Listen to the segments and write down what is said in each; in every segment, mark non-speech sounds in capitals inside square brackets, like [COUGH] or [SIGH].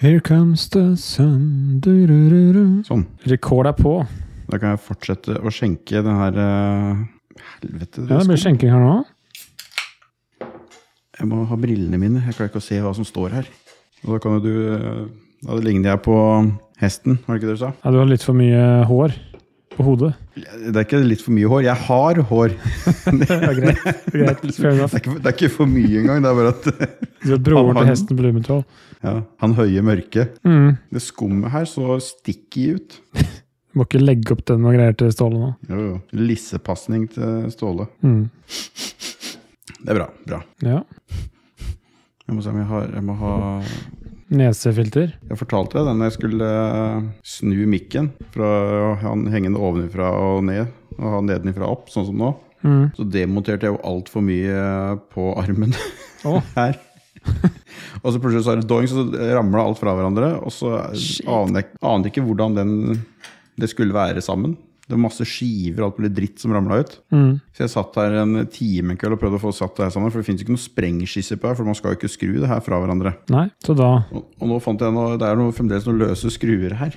Here comes the sun du-ru-ru-ru. Sånn. Rekord er på. Da kan jeg fortsette å skjenke den her eh, Helvete. Ja, det blir skal- skjenking her nå. Jeg må ha brillene mine. Jeg klarer ikke å se hva som står her. Og da kan jo du eh, Da ligner jeg på hesten, var det ikke det du sa? Ja, du har litt for mye hår på hodet. Det er ikke litt for mye hår. Jeg har hår. [LAUGHS] Det er greit. Det er greit. [LAUGHS] Fair [LAUGHS] Det enough. er ikke, det er ikke for mye engang. Det er bare at [LAUGHS] Du vet broren til hesten Blumenthal. ja, Han høye mørke. Mm. Det skummet her så sticky ut. Du må ikke legge opp den og greier til Ståle nå. Jo, jo. Lissepasning til Ståle. Mm. Det er bra. bra. Ja. Jeg må se om jeg har, jeg må ha Nesefilter. Jeg fortalte deg den jeg skulle eh, snu mikken fra å ha den hengende ovenifra og ned, og ha den nedenifra opp, sånn som nå. Mm. Så demonterte jeg jo altfor mye eh, på armen [LAUGHS] Å. her. [LAUGHS] og så plutselig så er det doing, så ramla alt fra hverandre. Og så Shit. aner jeg aner ikke hvordan den, det skulle være sammen. Det var masse skiver og alt mulig dritt som ramla ut. Mm. Så jeg satt her en time en kveld og prøvde å få satt det her sammen. For det fins ikke noen sprengskisse på her, for man skal jo ikke skru det her fra hverandre. Nei, så da Og, og nå fant jeg noe, det er noe, fremdeles noen løse skruer her.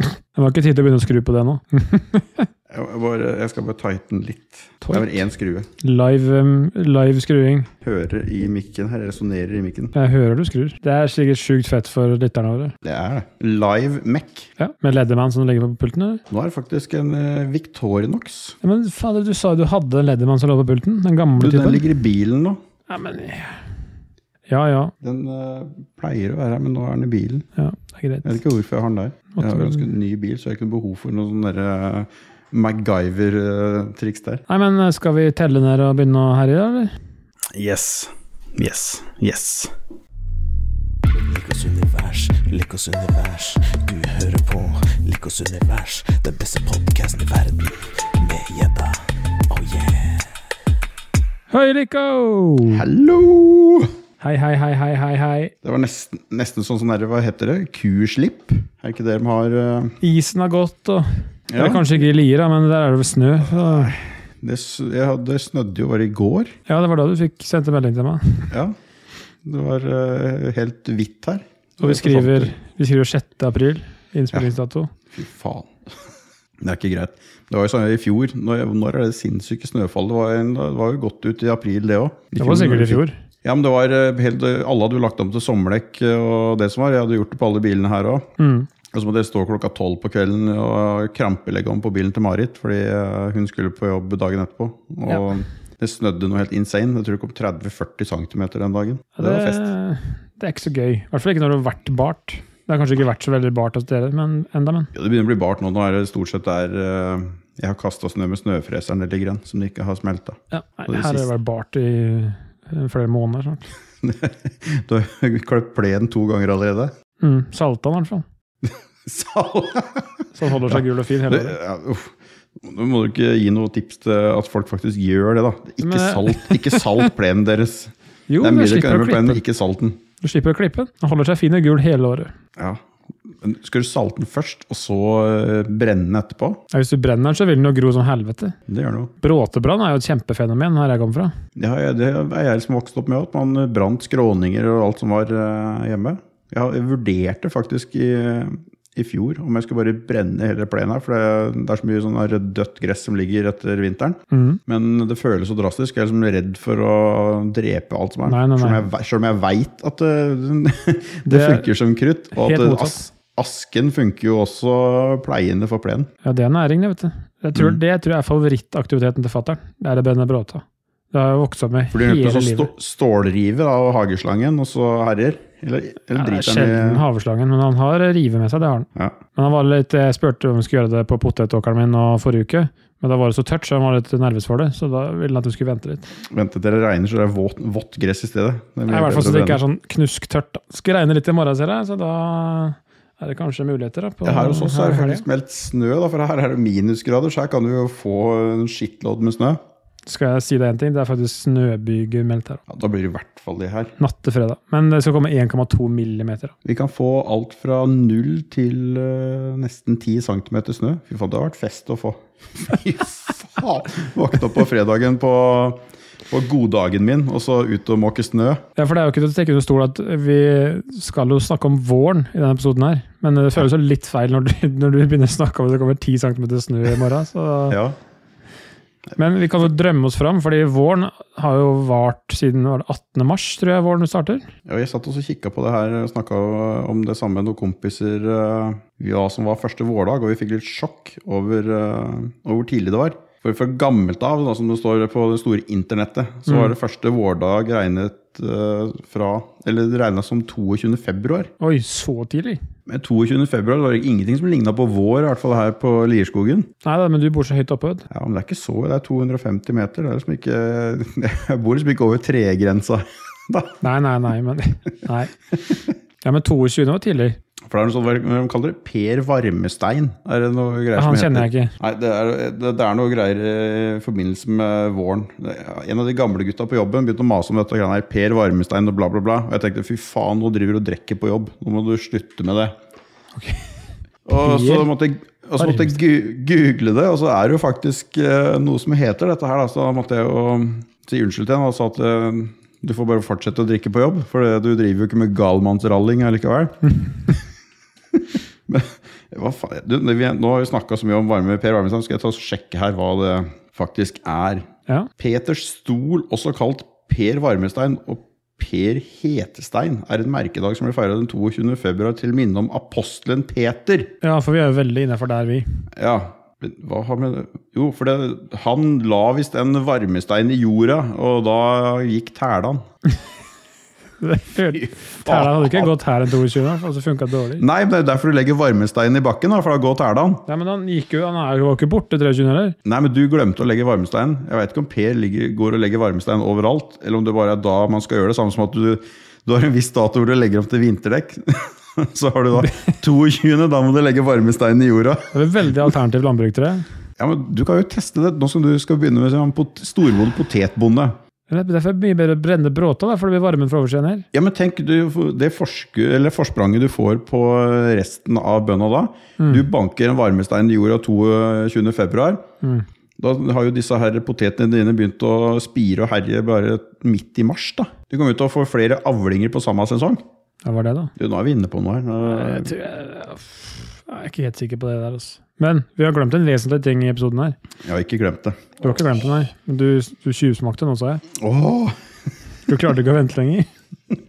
Det var ikke tid til å begynne å skru på det nå. Mm. Jeg, jeg bare, jeg skal bare tighten litt. Det er Tight. vel én skrue. Live, um, live skruing. Hører i mikken her, resonnerer i mikken. Jeg hører du skrur. Det er sikkert sjukt fett for lytterne våre. Det er det. Live Mac. Ja, Med Leatherman som du legger på pulten? eller? Nå er det faktisk en eh, Victorinox. Ja, men fader, Du sa jo du hadde en Leatherman som lå på pulten? Den Du, gamle den typen? ligger i bilen nå. Ja, men Ja ja. Den eh, pleier å være her, men nå er den i bilen. ja det er greit. Jeg vet ikke hvorfor jeg har den der. Jeg har Måtte- ganske ny bil, så jeg har ikke noe behov for noe sånn derre MacGyver-triks der. Nei, men eh, skal vi telle ned og begynne å herje, eller? Yes. Yes. Yes. Likos univers, Likos univers. Du hører på Likos univers, den beste podkasten i verden. Med gjedda. Oh yeah. Høy Lico! Hallo! Hei, hei, hei, hei, hei, hei. Det var nesten, nesten sånn sånn derre, hva heter det? Kuslipp? Er ikke det de har eh, Isen har gått, og Ja. Eller kanskje ikke i Lier, da, men der er det vel snø. Så... det, s- jeg hadde, det snødde jo bare i går. Ja, det var da du fikk sendt en melding til meg. Ja. Det var eh, helt hvitt her. Og vi skriver, vi skriver 6. april, innspillingsdato. sånn Fy faen. [LAUGHS] Det er ikke greit. Det var jo sånn i fjor. Når, når er det sinnssyke snøfallet? Det var, en, det var jo godt ut i april, det òg. Det var sikkert i fjor. Ja, men det var eh, helt, Alle hadde jo lagt om til sommerdekk eh, og det som var. Jeg hadde gjort det på alle bilene her òg. Mm. Og så måtte jeg stå klokka tolv på kvelden og krampelegge om på bilen til Marit, fordi eh, hun skulle på jobb dagen etterpå. Og Ja. det snødde noe helt insane. Jeg tror det kom 30-40 cm den dagen. Ja, Det var fest. det er ikke så gøy. I hvert fall ikke når du har vært bart. Det har kanskje ikke vært så veldig bart hos dere, men enda, men. Ja, det begynner å bli bart nå. Nå er det stort sett der eh, jeg har kasta snø med snøfreseren eller grann, som det ikke har [LAUGHS] smelta. Ja, nei, Og det her har det siste. vært bart i eh, flere måneder snart. Du har kløpt plenen to ganger allerede. [LAUGHS] Mm, salta den i hvert fall. Sal! Så den holder seg gul og fin hele Det, året. ja, uff. Nå må du ikke gi noe tips til at folk faktisk gjør det, da. Ikke, Men- salt, ikke salt plenen deres. [LAUGHS] Jo, det er du mye dere kan slipper gjøre å med plenen, klippe. men ikke salt den. Du slipper å klippe. Den holder seg fin og gul hele året. Ja. Men Skal du salte den først, og så eh, brenne den etterpå? Ja, hvis du brenner den, så vil den jo gro som helvete. Det gjør noe. Bråtebrann er jo et kjempefenomen her jeg kommer fra. Ja, jeg- det er jeg som vokste opp med at man eh, brant skråninger og alt som var eh, hjemme. Jeg har- jeg vurderte faktisk i, i fjor om jeg skulle bare brenne hele plenen her, for det, det er så mye sånn her dødt gress som ligger etter vinteren. Mm. Men det føles så drastisk. Jeg er liksom redd for å drepe alt som er. Nei, nei, nei. Selv om jeg ve- Selv om jeg veit at det, [LAUGHS] det Det er funker som krutt. Og helt at motsatt. as, asken funker jo også pleiende for plenen. Ja, det er næring, det, vet du. Jeg Mm. tror, Det tror jeg er favorittaktiviteten til fatter'n. Det er å brenne bråta. Det har jeg vokst opp med For de er nødt hele til å stå, livet. stålrive da, av hageslangen, og så herjer. Eller, Ja, eller det er driter sjelden den i haveslangen, men han har rive med seg. det har han. ja. Men han var litt, Jeg spurte om vi skulle gjøre det på potetåkeren min nå forrige uke, men da var det så tørt, så han var litt nervøs for det. Så da ville han at vi skulle vente litt. Vente til det regner, så det er våt, vått gress i stedet. Det blir Nei, I hvert fall så bedre det ikke å er sånn knusktørt. da. Skal regne litt i morgen, ser jeg, så da er det kanskje muligheter. da. på- brenne. Ja, her hos oss er her det i helgen. faktisk meldt snø, da, for her er det minusgrader. Så her kan du jo få en skittlodd med snø. Skal jeg si deg en ting, det er faktisk snøbyger meldt her. Ja, da blir det i hvert fall det her. Natt til fredag. Men det skal komme 1,2 millimeter. da. Vi kan få alt fra null til eh, nesten 10 cm snø. Fy [LAUGHS] faen, det har vært fest å få. Fy faen! Våkne opp på fredagen på, Og goddagen min, og så ut og måke snø. Ja, for det er jo ikke til å stikke under stol at vi skal jo snakke om våren i denne episoden her. Men det føles jo litt feil når du, [LAUGHS] når du begynner å snakke om at det kommer 10 cm snø i morgen. Så. Ja. Men vi kan jo drømme oss fram, fordi våren har jo vart siden var det 18. mars, tror jeg våren starter. Ja, jeg satt også og kikka på det her og snakka om det samme med noen kompiser eh, ja, som var første vårdag, og vi fikk litt sjokk over, eh, over hvor tidlig det var. For Fra gammelt av, da, som det står på det store internettet, så var det første vårdag regnet eh, fra Eller regna som 22. februar. Oi, så tidlig! Men 22. februar var det ingenting som ligna på vår, i hvert fall her på Lierskogen. Nei da, men du bor så høyt oppe. vet du. Ja, men det er ikke så, det er 250 meter. Det er liksom ikke, [LAUGHS] jeg bor liksom ikke over tregrensa. [LAUGHS] Da. Nei, nei, nei. Men, [LAUGHS] nei. Ja, men 22. var tidlig. For det er noe sånt, hva er det de kaller det? Per Varmestein? Er det noe greier Ja, han kjenner jeg ikke. Nei, det er, det, det er noe greier i forbindelse med våren. Det- En av de gamle gutta på jobben begynte å mase om dette greiene her. Per Varmestein og bla, bla, bla. Og jeg tenkte fy faen, nå driver du og drikker på jobb. Nå må du slutte med det. Og så Per måtte jeg og så måtte jeg gu- google det, og så er det jo faktisk eh, noe som heter dette her. Da. Så da måtte jeg jo um, si unnskyld til henne og sa at eh, du får bare fortsette å drikke på jobb, for det- du driver jo ikke med galmannsralling allikevel. [LAUGHS] Men hva faen du, vi, Nå har vi snakka så mye om varme Per Varmestad, skal jeg ta og sjekke her hva det faktisk er. Ja. Peter Stol, også kalt Per Varmestein og Per Hetestein, er en merkedag som ble feira den 22. februar til minne om apostelen Peter. ja, for vi er jo veldig innafor der, vi. [LAUGHS] Ja, men hva har med det Jo, for det, han la visst en varmestein i jorda, og da gikk tælan. Tæla hadde ikke gått her enn 22., for så funka det dårlig. Nei, men det er derfor du legger varmestein i bakken, da, for da går tælan. Nei, men han gikk jo, han er jo ikke borte 23. heller. Nei, men du glemte å legge varmestein. Jeg vet ikke om Per ligger, går og legger varmestein overalt, eller om det bare er da man skal gjøre det. Samme som at du, du har en viss dato hvor du legger om til vinterdekk. [LAUGHS] Så har du da 22., da må du legge varmesteinen i jorda. Det er et veldig alternativt landbruk til det. Ja, men Du kan jo teste det nå som du skal begynne med sånn pot storbond potetbonde. Men det er derfor mye bedre å brenne bråta, da, for det blir varmen fra oversiden her. Ja, men tenk, du, det forsku, eller forspranget du får på resten av bønda da. Du banker en varmestein i jorda 22. februar. Da har jo disse her potetene dine begynt å spire og herje bare midt i mars. da. Du kommer ut til å få flere avlinger på samme sesong. Ja, var det, da? Du, nå er vi inne på noe her. Jeg, Nå- tror jeg, jeg er ikke helt sikker på det der, altså. Men vi har glemt en vesentlig ting i episoden her. Jeg har ikke glemt det. Du har ikke glemt den, nei. Men du, du tjuvsmakte nå, sa jeg. Åh, Du klarte ikke å vente lenger.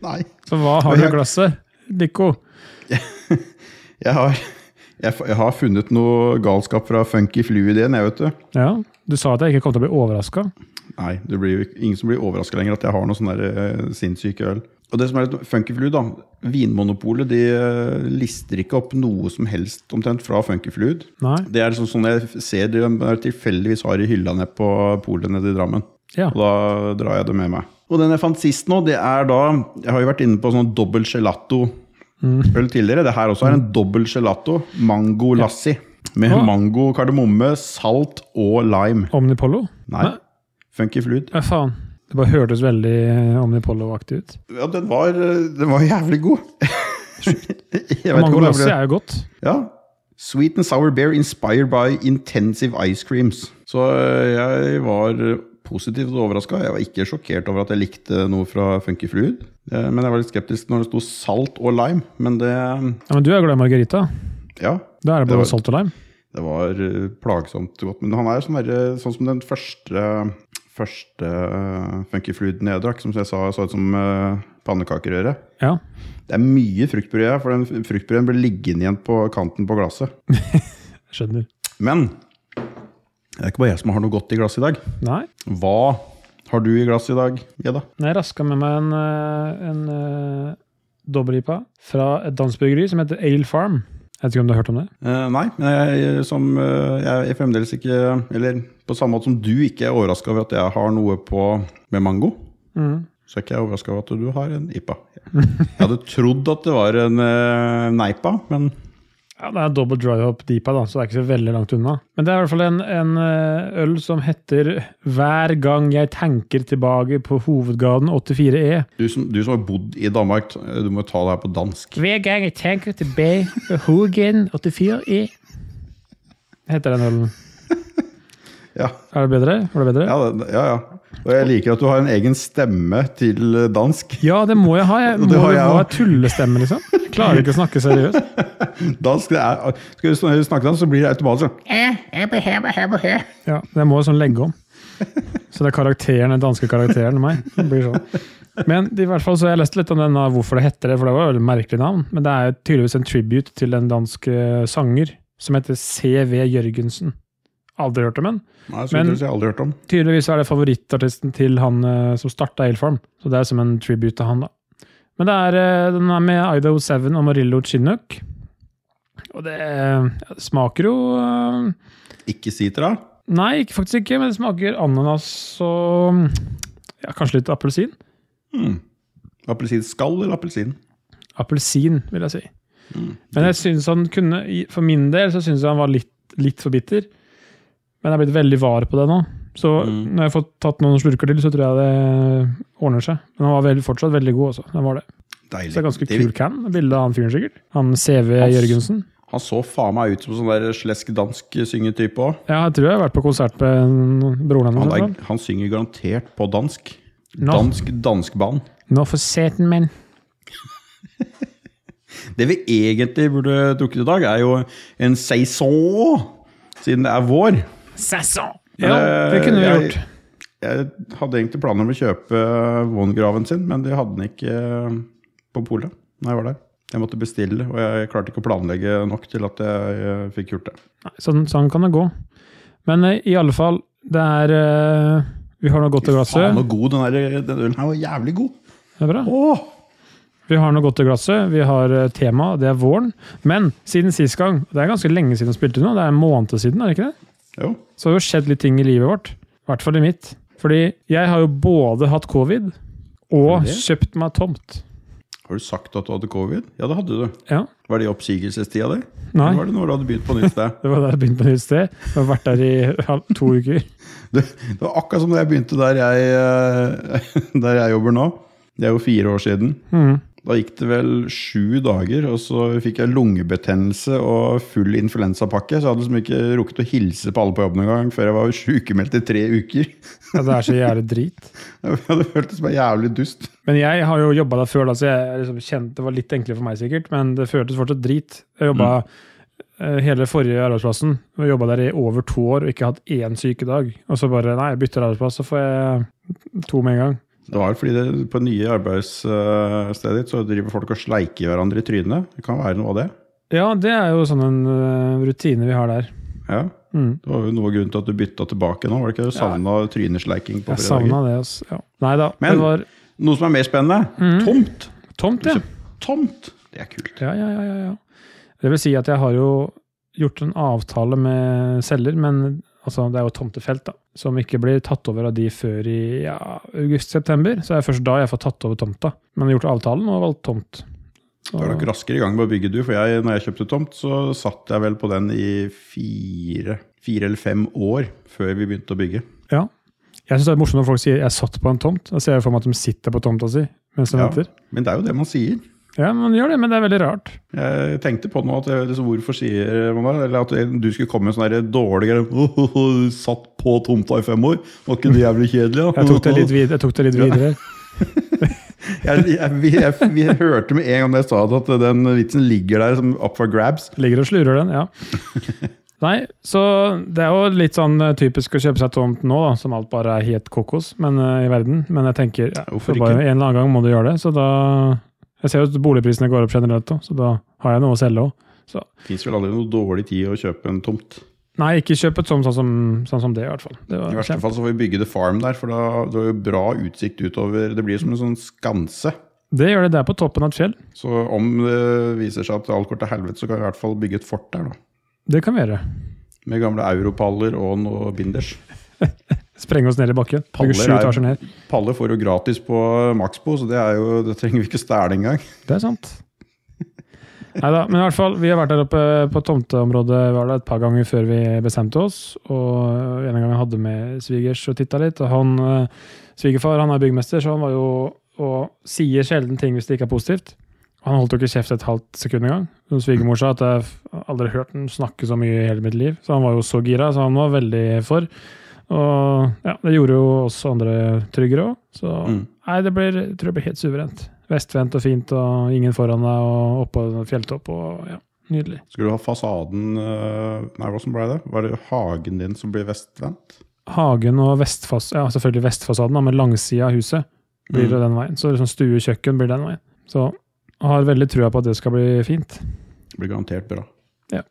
nei. Så hva har du i glasset, Nico? Jeg har, jeg, f- jeg har funnet noe galskap fra Funky Flu-ideen, jeg, vet du. Ja, du sa at jeg ikke kom til å bli overraska. Nei, det blir jo ikke- ingen som blir overraska lenger at jeg har noe sånn der, eh, sinnssyk øl. Og det som er litt Funkyflu, da. Vinmonopolet de eh, lister ikke opp noe som helst omtrent fra Funkyfluid. Nei. Det er liksom sånn jeg ser de bare tilfeldigvis har i hylla nede på polet nede i Drammen. Ja. Og da drar jeg det med meg. Og den jeg fant sist nå, det er da Jeg har jo vært inne på sånn dobbel gelato-øl tidligere. Det her også er en dobbel gelato. Mango lassi. Med Ah. mango, kardemomme, salt og lime. Omnipollo? Nei. Funkyfluid. Ja, faen. Det bare hørtes veldig eh, Omnipollo-aktig ut. Ja, den var, den var jævlig god. [LAUGHS] Jeg vet ikke Mango om det lassi ble er jo godt. ja. Sweet and sour beer inspired by intensive ice creams. Så eh, jeg var positivt overraska. Jeg var ikke sjokkert over at jeg likte noe fra Funky Fluid. Eh, Men jeg var litt skeptisk når det sto salt og lime. Men det Ja, Men du er glad i margarita. Ja. Da er det bare Det var- salt og lime. Det var eh, plagsomt godt. Men han er jo sånn, derre- sånn som den første, første eh, Funky Fluiden jeg drakk, som jeg sa så ut som eh, pannekakerøre. Ja. Det er mye fruktpuré her, for den fruktpuréen blir liggende igjen på kanten på glasset. jeg Skjønner. Men det er ikke bare jeg som har noe godt i glasset i dag. Nei. Hva har du i glasset i dag, Gjedda? Jeg raska med meg en, eh, en eh, dobbel-IPA fra et dansbryggeri som heter Ale Farm. Jeg vet ikke om du har hørt om det? Eh, nei, men jeg, som, eh, jeg er fremdeles ikke Eller på samme måte som du ikke er overraska over at jeg har noe på med mango, Mm. så er ikke jeg overraska over at du har en IPA. Jeg hadde trodd at det var en eh, neipa, men Ja, Det er double dry hop deepa, da, så det er ikke så veldig langt unna. Men det er i hvert fall en, en eh, øl som heter 'Hver gang jeg tenker tilbake på E. hovedgaten 84E'. du som, du som har bodd i Danmark, du må ta det her på dansk. Hver gang jeg tenker tilbake E. på hovedgaten 84E. Heter den ølen. Ja, Er det bedre? Var det bedre? ja, det- ja, ja. Og jeg liker at du har en egen stemme til eh, dansk. [LAUGHS] Ja, det må jeg ha. Jeg Og må det det har jeg ha også. tullestemme, liksom. Jeg Klarer ikke å snakke seriøst. Dansk, det er, skal du sn- snakke dansk, så blir det automatisk sånn. Ja, Jeg må sånn legge om. Så det er karakteren, den danske karakteren meg. Det blir sånn. Men i hvert fall så har jeg lest litt om den, av hvorfor det heter det, for det var et veldig merkelig navn. Men det er jo tydeligvis en tribute til en dansk eh, sanger som heter C.V. Jørgensen. Aldri hørt om den. Nei, så Men- utrolig, jeg har aldri hørt om. Tydeligvis er det favorittartisten til han eh, som starta Ailfarm, så det er som en tribute til han, da. Men det er, eh, den er med Idaho Seven og Marillo Chinook. Og det eh, smaker jo eh, Ikke sitra? Nei, ikke- faktisk ikke, men det smaker ananas og mm, ja, kanskje litt appelsin. Hmm. Appelsinskall eller appelsin? Appelsin, vil jeg si. Mm. Men jeg synes han kunne, i- for min del så syns jeg han var litt, litt for bitter. Men jeg er blitt veldig var på det nå. Så Mm. når jeg får tatt noen slurker til, så tror jeg det ordner seg. Men han var vel, fortsatt veldig god, også. Den var det. Deilig. Så det er ganske Det- kul can. Bilde av han fyren, sikkert. Han CV Jørgensen. Han så faen meg ut som sånn der slesk-dansk syngetype òg. Ja, jeg tror jeg har vært på konsert med en- broren Han, hans. i hvert fall. er- han synger garantert på dansk. Nå. Dansk danskband. Nå for seten min. Det vi egentlig burde drukket i dag, er jo en saison, siden det er vår. Sesong! Ja, det kunne vi Eh, gjort. jeg- Jeg hadde egentlig planer om å kjøpe Vongraven sin, men de hadde den ikke eh, på polet når jeg var der. Jeg måtte bestille, og jeg klarte ikke å planlegge nok til at jeg eh, fikk gjort det. Nei, Sånn, sånn kan det gå. Men eh, i alle fall, det er eh, Vi har noe godt i Faen, glasset. så god den, der, eh, den ølen her var jævlig god! Det er bra. Åh! Vi har noe godt i glasset. Vi har eh, tema, det er våren. Men siden sist gang, det er ganske lenge siden vi spilte nå, det er en måned siden, er det ikke det? Jo. Så har det jo skjedd litt ting i livet vårt. I hvert fall i mitt. Fordi jeg har jo både hatt covid Har og du det? kjøpt meg tomt. Har du sagt at du hadde covid? Ja, det hadde du. Ja. Var det i oppsigelsestida di? Nei, Eller var det når du hadde begynt på nytt sted? det var da jeg begynte på nytt sted. Jeg har vært der i halv- to uker. Det, det var akkurat som da jeg begynte der jeg, eh, [LAUGHS] der jeg jobber nå. Det er jo fire år siden. Mhm. Da gikk det vel sju dager, og så fikk jeg lungebetennelse og full influensapakke. Så jeg hadde liksom ikke rukket å hilse på alle på jobben engang før jeg var sykemeldt i tre uker. [LAUGHS] Ja, det er så jævlig drit. Jeg hadde følt det som en jævlig dust. Men jeg har jo jobba der før, da, så jeg liksom kjente det var litt enklere for meg sikkert. Men det føltes fortsatt drit. Jeg jobba eh, hele forrige arbeidsplassen. Jeg jobba der i over to år og ikke hatt én sykedag. Og så bare nei, jeg bytter arbeidsplass, så får jeg to med en gang. Det var fordi det, på nye arbeidsstedet ditt så driver folk og sleiker hverandre i trynet. Det kan være noe av det. Ja, det er jo sånn en eh, rutine vi har der. Ja. Mm. Det var jo noe av grunnen til at du bytta tilbake nå. Var det ikke du savna trynesleiking på Jeg fredager? savna det. Altså. Ja. Nei da. Men- det var Noe som er mer spennende? Mm. Tomt! tomt, ja. Tomt! Det er kult. Ja, ja, ja, ja, ja. Det vil si at jeg har jo gjort en avtale med selger, men altså, det er jo et tomtefelt da, som ikke blir tatt over av de før i ja, august-september. Så det er først da jeg får tatt over tomta. Men jeg har gjort avtalen og valgt tomt. Så, Da er dere raskere i gang med å bygge, du. For jeg, når jeg kjøpte tomt, så satt jeg vel på den i fire, fire eller fem år før vi begynte å bygge. ja. Jeg syns det er morsomt når folk sier 'jeg satt på en tomt'. Da ser jeg for meg at de sitter på tomta si mens de Ja. venter. Men det er jo det man sier. Ja, men gjør det, men det er veldig rart. Jeg tenkte på nå at jeg, liksom, hvorfor sier man det? Eller at du skulle komme med sånn der dårlig [LAUGHS] greie «Åh, Satt på tomta i fem år. Var ikke det jævlig kjedelig? da?» Jeg tok det litt, vid jeg tok det litt videre. [LAUGHS] Jeg, jeg, vi, jeg, vi hørte med en gang da jeg sa det, at den vitsen ligger der som up for grabs. Ligger og slurer den, ja. [LAUGHS] Nei, så det er jo litt sånn eh, typisk å kjøpe seg tomt nå, da, som alt bare er helt kokos men, eh, i verden. Men jeg tenker ja, Hvorfor så bare ikke? en eller annen gang må du gjøre det. Så da Jeg ser jo at boligprisene går opp generelt, da, så da har jeg noe å selge òg. Fins vel aldri noe dårlig tid å kjøpe en tomt. Nei, ikke kjøp et sånt sånn som, sånn som det, i hvert fall. Det I var, verste kjempe- fall så får vi bygge The Farm der, for da det har jo bra utsikt utover. Det blir som en sånn skanse. det gjør det der på toppen av et fjell. Så om det viser seg at alt går til helvete, så kan vi i hvert fall bygge et fort der, da. Det kan vi gjøre. Med gamle europaller og noe binders. Sprenge oss ned i bakken. Paller Bygge sju er- etasjer ned. Paller får jo gratis på Maxbo, så det, er jo, det trenger vi ikke stæle engang. Det er sant. Nei da, men i hvert fall, vi har vært der oppe på tomteområdet var det et par ganger før vi bestemte oss. Og en gang jeg hadde med svigers og titta litt. Og han, eh, svigerfar han er byggmester, så han var jo og sier sjelden ting hvis det ikke er positivt. Han holdt jo ikke kjeft et halvt sekund engang. Som Svigermor sa, at jeg har aldri hørt han snakke så mye i hele mitt liv. Så han var jo så gira, så han var veldig for. Og ja, det gjorde jo oss andre tryggere òg. Så Mm. nei, det blir, jeg tror det blir helt suverent. Vestvendt og fint, og ingen foran deg, og oppå en fjelltopp. og ja, Nydelig. Skulle du ha fasaden eh, Nei, hvordan ble det? Var det hagen din som ble vestvendt? Hagen og vestfas ja, selvfølgelig vestfasaden, da, men langsida av huset blir det den veien. Så liksom stue og kjøkken blir den veien. Så har veldig trua på at det skal bli fint. Det blir garantert bra. Ja.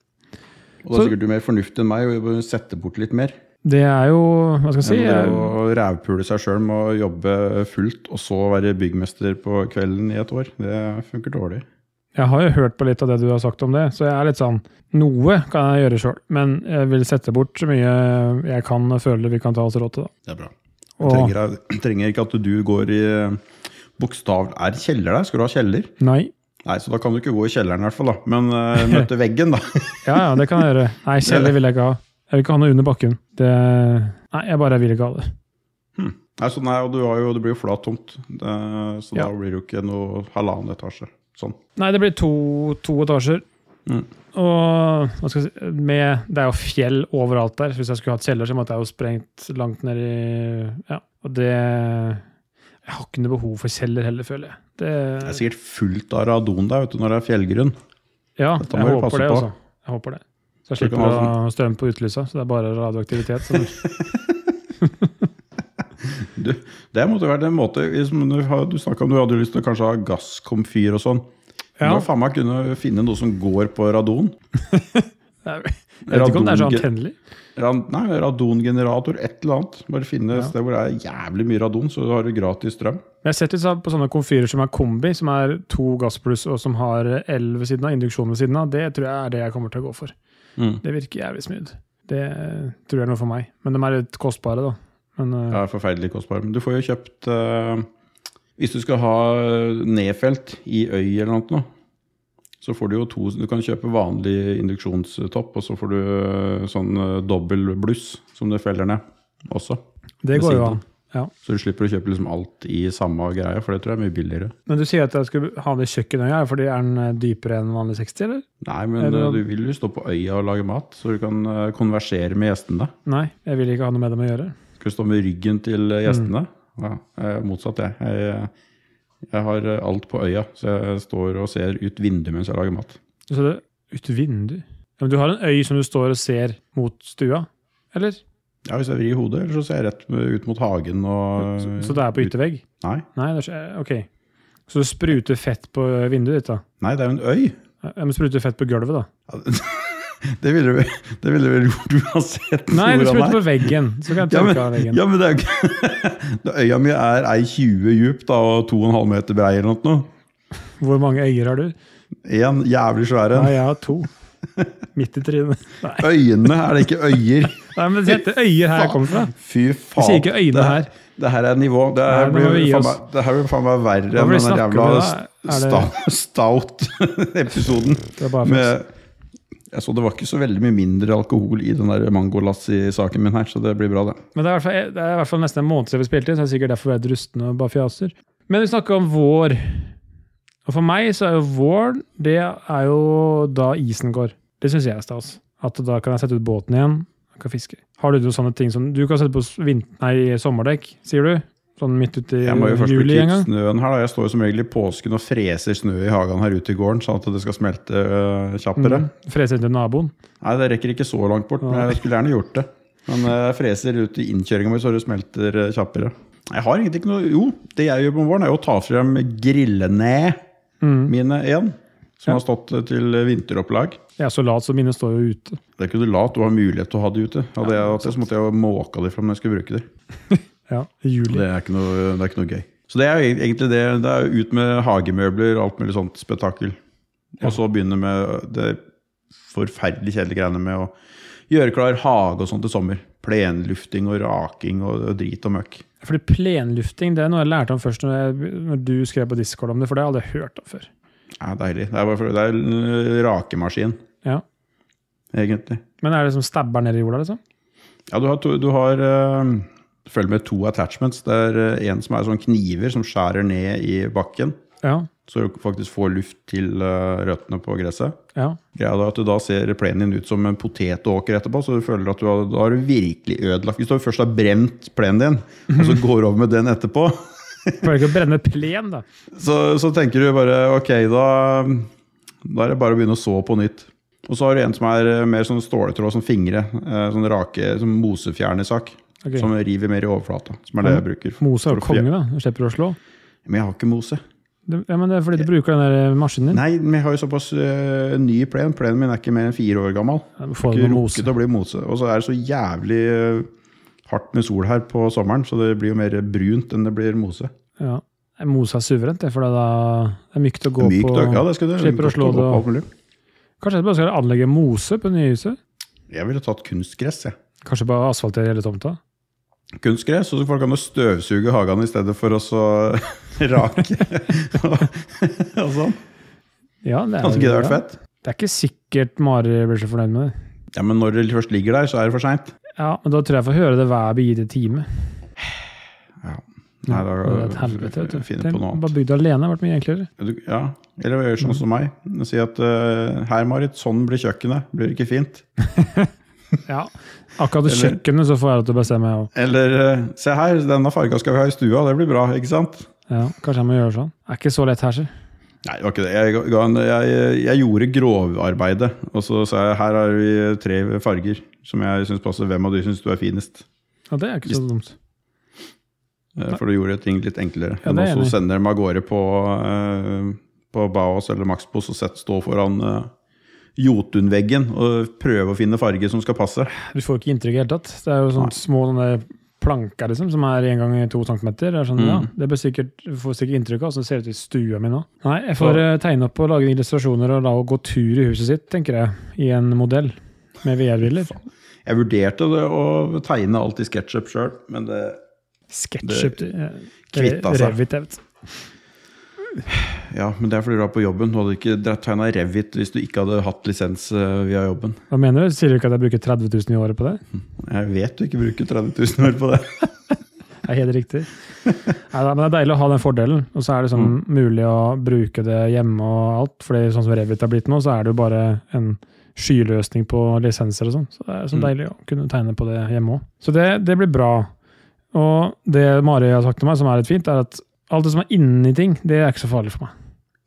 Og da Så- er sikkert du mer fornuftig enn meg og bør sette bort litt mer. Det er jo Hva skal jeg si? Enn det jeg- å rævpule seg sjøl med å jobbe fullt, og så være byggmester på kvelden i et år. Det funker dårlig. Jeg har jo hørt på litt av det du har sagt om det, så jeg er litt sånn Noe kan jeg gjøre sjøl, men jeg vil sette bort så mye jeg kan og føler vi kan ta oss råd til, da. Det er bra. Og- Trenger, trenger ikke at du går i eh, bokstav... Er det kjeller der? Skal du ha kjeller? Nei. Nei, så da kan du ikke gå i kjelleren i hvert fall, da. Men eh, møte veggen, da. [LAUGHS] Ja, ja, det kan jeg gjøre. Nei, kjeller vil jeg ikke ha. Jeg vil ikke ha noe under bakken. Det Nei, jeg bare vil ikke ha det. Nei, så nei, og du har jo, det blir jo flat tomt, Eh, så Ja. da blir det jo ikke noe halvannen etasje. Sånn. Nei, det blir to, to etasjer. Mm. Og hva skal jeg si med, Det er jo fjell overalt der. så Hvis jeg skulle hatt kjeller, så måtte jeg jo sprengt langt ned i Ja. Og det Jeg har ikke noe behov for kjeller heller, føler jeg. Det, Det er sikkert fullt av radon der vet du, når det er fjellgrunn. Ja, Dette jeg må vi håper passe det, på. altså. Jeg håper det. Så jeg Så det kan slipper å være ha strøm på utelysa, så det er bare radioaktivitet. Så det- Du, det måtte jo vært en måte liksom, Du, har- du snakka om du hadde lyst til å kanskje ha gasskomfyr og sånn. Ja. Ja. Må faen meg kunne finne noe som går på radon. jeg vet ikke om det er så Radonge- antennelig. Ran- Nei, radongenerator, et eller annet. Bare finne et Ja. sted hvor det er jævlig mye radon, så har du gratis strøm. Men jeg har sett litt sånn på sånne komfyrer som er kombi, som er to gasspluss og som har el ved siden av, induksjon ved siden av. Det tror jeg er det jeg kommer til å gå for. Det virker jævlig smooth. Det eh, tror jeg er noe for meg. Men de er litt kostbare, da. Men eh, Det er forferdelig kostbar. Men du får jo kjøpt eh, Hvis du skal ha eh, nedfelt i øy eller noe, sånt nå, så får du jo to Du kan kjøpe vanlig induksjonstopp, og så får du eh, sånn eh, dobbel bluss som du feller ned også. det ved går jo siden an. Ja. Så du slipper å kjøpe liksom alt i samme greia, for det tror jeg er mye billigere. Men du sier at jeg skulle ha det i kjøkkenøya, er det fordi er den eh, dypere enn vanlig 60, eller? Nei, men Er det eh, noe- du vil jo stå på øya og lage mat, så du kan eh, konversere med gjestene. Nei, jeg vil ikke ha noe med dem å gjøre. Skal du stå med ryggen til eh, Mm. gjestene? Ja, jeg er motsatt, jeg. jeg. Jeg har eh, alt på øya, så jeg står og ser ut vinduet mens jeg lager mat. Du sa det ut vindu. Ja, men du har en øy som du står og ser mot stua, eller? Ja, Hvis jeg vrir hodet, eller så ser jeg rett ut mot hagen og Så, så det er på yttervegg? Nei, Nei, det er, ikke- ok. Så du spruter fett på eh, vinduet ditt, da? nei det er jo en øy! Ja, men spruter fett på gulvet, da? Det ville vel, [LAUGHS] det ville vel gjort uansett Nei, du hvor han spruter er. på veggen. Så kan jeg [LAUGHS] Ja, men, tørke av veggen. ja, men det er jo ikke [LAUGHS] Da Øya mi er ei 20 djup da, og 2,5 meter brei eller noe. Hvor mange øyer har du? Én jævlig svær en. Nei, jeg har [LAUGHS] to. Midt i trynet. Nei. Øyene, er det ikke øyer? Nei, men det heter øyer her jeg kommer fra. Fy faen. sier ikke øyne det her. Det her er nivå. Det Nei, her nå må blir jo vi gi faen oss. meg, det her blir faen meg verre Hva enn blir den der snakke jævla om da? Er sta- stout-episoden. Det er bare flaks. med jeg så Det var ikke så veldig mye mindre alkohol i den der mangolass-saken min her, så det blir bra, det. Men det er, i hvert fall, det er i hvert fall nesten en måned siden vi spilte inn, så det er sikkert derfor vi er rustne og bare fjaser. Men vi snakker om vår. Og for meg så er jo våren det er jo da isen går. Det syns jeg er stas. At da kan jeg sette ut båten igjen og kan fiske. Har du noen sånne ting som Du kan sette på s- vin- nei, sommerdekk, sier du? Sånn midt ute i Jeg må jo først bli juli en gang? kvitt snøen her. da Jeg står jo som regel i påsken og freser snø i hagen her ute i gården, sånn at det skal smelte øh, kjappere. Mm. Frese inn til naboen? Nei, det rekker ikke så langt bort, men Nei. jeg skulle gjerne gjort det. Men eh, jeg freser ut i innkjøringa mi, så det smelter eh, kjappere. Jeg har egentlig ikke noe Jo, det jeg gjør på våren, er jo å ta frem grillene Mm. mine igjen. Ja. Som har stått eh, til vinteropplag. Jeg er så lat, så mine står jo ute. Det er ikke du lat, du har mulighet til å ha de ute. Hadde jeg hatt det, så måtte jeg jo måka de fram når jeg skulle bruke de. Ja, i juli. Det er ikke noe, det er ikke noe gøy. Så det er jo egentlig det. Det er jo ut med hagemøbler og alt mulig sånt spetakkel. Og så begynne med det forferdelig kjedelige greiene med å gjøre klar hage og sånt til sommer. Plenlufting og raking og drit og møkk. Fordi plenlufting det er noe jeg lærte om først når, jeg, når du skrev på Discord om det, for det har jeg aldri hørt om før. Ja, deilig. Det er, bare for, det er en eh, rakemaskin, Ja. egentlig. Men er det som stabber ned i jorda, liksom? Ja, du har, to, du har eh, Følg med to attachments. Det er eh, en som er sånn kniver som skjærer ned i bakken. Ja. Så du faktisk får luft til eh, røttene på gresset. Ja. Greia da at du da ser plenen din ut som en potetåker etterpå, så du føler at du har, da har du virkelig ødelagt Hvis du først har brent plenen [LAUGHS] din, og så går du over med den etterpå, [LAUGHS] Pleier ikke å brenne plen, da. så, så tenker du bare ok, da, da er det bare å begynne å så på nytt. Og så har du en som er eh, mer sånn ståletråd som fingre. eh, Sånn rake som mosefjernersak. Ok. Som river mer i overflata. Som er det jeg bruker. Mose er for jo å konge, da. Du slipper å slå. fje- Men jeg har ikke mose. Det, ja, men det er fordi du bruker den der eh, maskinen din. Nei, men jeg har jo såpass eh, ny plen. Plenen min er ikke mer enn fire år gammel. Ja, du Får ikke den på rukket mose. å bli mose. Og så er det så jævlig eh, hardt med sol her på sommeren, så det blir jo mer brunt enn det blir mose. Ja. Nei, Mose er suverent, det, for det er, da, det er mykt å gå Mykt på. og ja, det skal du. Slipper å godt slå gå det, på og- alt mulig. Kanskje jeg bare skal anlegge mose på nyhuset? Jeg ville tatt kunstgress, jeg. Kanskje bare asfaltere hele tomta? Kunstgress, og så folk kan jo støvsuge hagene i stedet for å så [LAUGHS] rake og sånn. Ja, det er, Hadde ikke det vært fett? Det er ikke sikkert Mari blir så fornøyd med det. Ja, Men når det først ligger der, så er det for seint. Ja, men da tror jeg jeg får høre det hver begitte time. Det Nei, er et helvete. vet du. da finner på Tenk, noe annet. Bare bygd alene har vært mye enklere. Du- Ja, eller gjør sånn som meg. Si at eh, her, Marit, sånn blir kjøkkenet. Blir det ikke fint? Ja, Akkurat i Eller- kjøkkenet så får jeg lov til å bestemme, jeg òg. Eller eh, se her, denne farga skal vi ha i stua. Det blir bra, ikke sant? Ja, kanskje jeg må gjøre sånn. Det er ikke så lett her, si. Nei, det var ikke det. Jeg, ga en, jeg, jeg gjorde grovarbeidet. Og så sa jeg her har vi tre farger som jeg syns passer. Hvem av de syns du er finest? Ja, det er ikke så dumt. Eh, For du gjorde ting litt enklere. Ja, enn det er å enig. sende dem av gårde på, eh, på Baos eller Maxbos og sett stå foran eh, Jotunveggen og prøve å finne farge som skal passe. Du får ikke inntrykk i det hele tatt. Det er jo Nei. sånne små sånne planker liksom, som er én gang i to centimeter. Det er sånn, Mm. ja, det blir sikkert, du får sikkert inntrykk av hvordan det ser ut i stua mi nå. Nei, jeg får eh, tegne opp og lage illustrasjoner og la henne gå tur i huset sitt, tenker jeg, i en modell med VR-briller. Jeg vurderte det å tegne alt i SketchUp sjøl, men det SketchUp. kvitta seg. Revitevt. Ja, men det er fordi du er på jobben. Du hadde ikke tegna Revit hvis du ikke hadde hatt lisens eh, via jobben. Hva mener du? Sier du ikke at jeg bruker 30 000 i året på det? Jeg vet du ikke bruker 30 000 år på det. Det er helt [LAUGHS] riktig. Neida, men det er deilig å ha den fordelen, og så er det sånn Mm. mulig å bruke det hjemme og alt. fordi sånn som Revit er blitt nå, så er det jo bare en skyløsning på lisenser og sånn. Så det er så Mm. deilig å kunne tegne på det hjemme òg. Så det, det blir bra. Og det Mari har sagt til meg, som er litt fint, er at alt det som er inni ting, det er ikke så farlig for meg.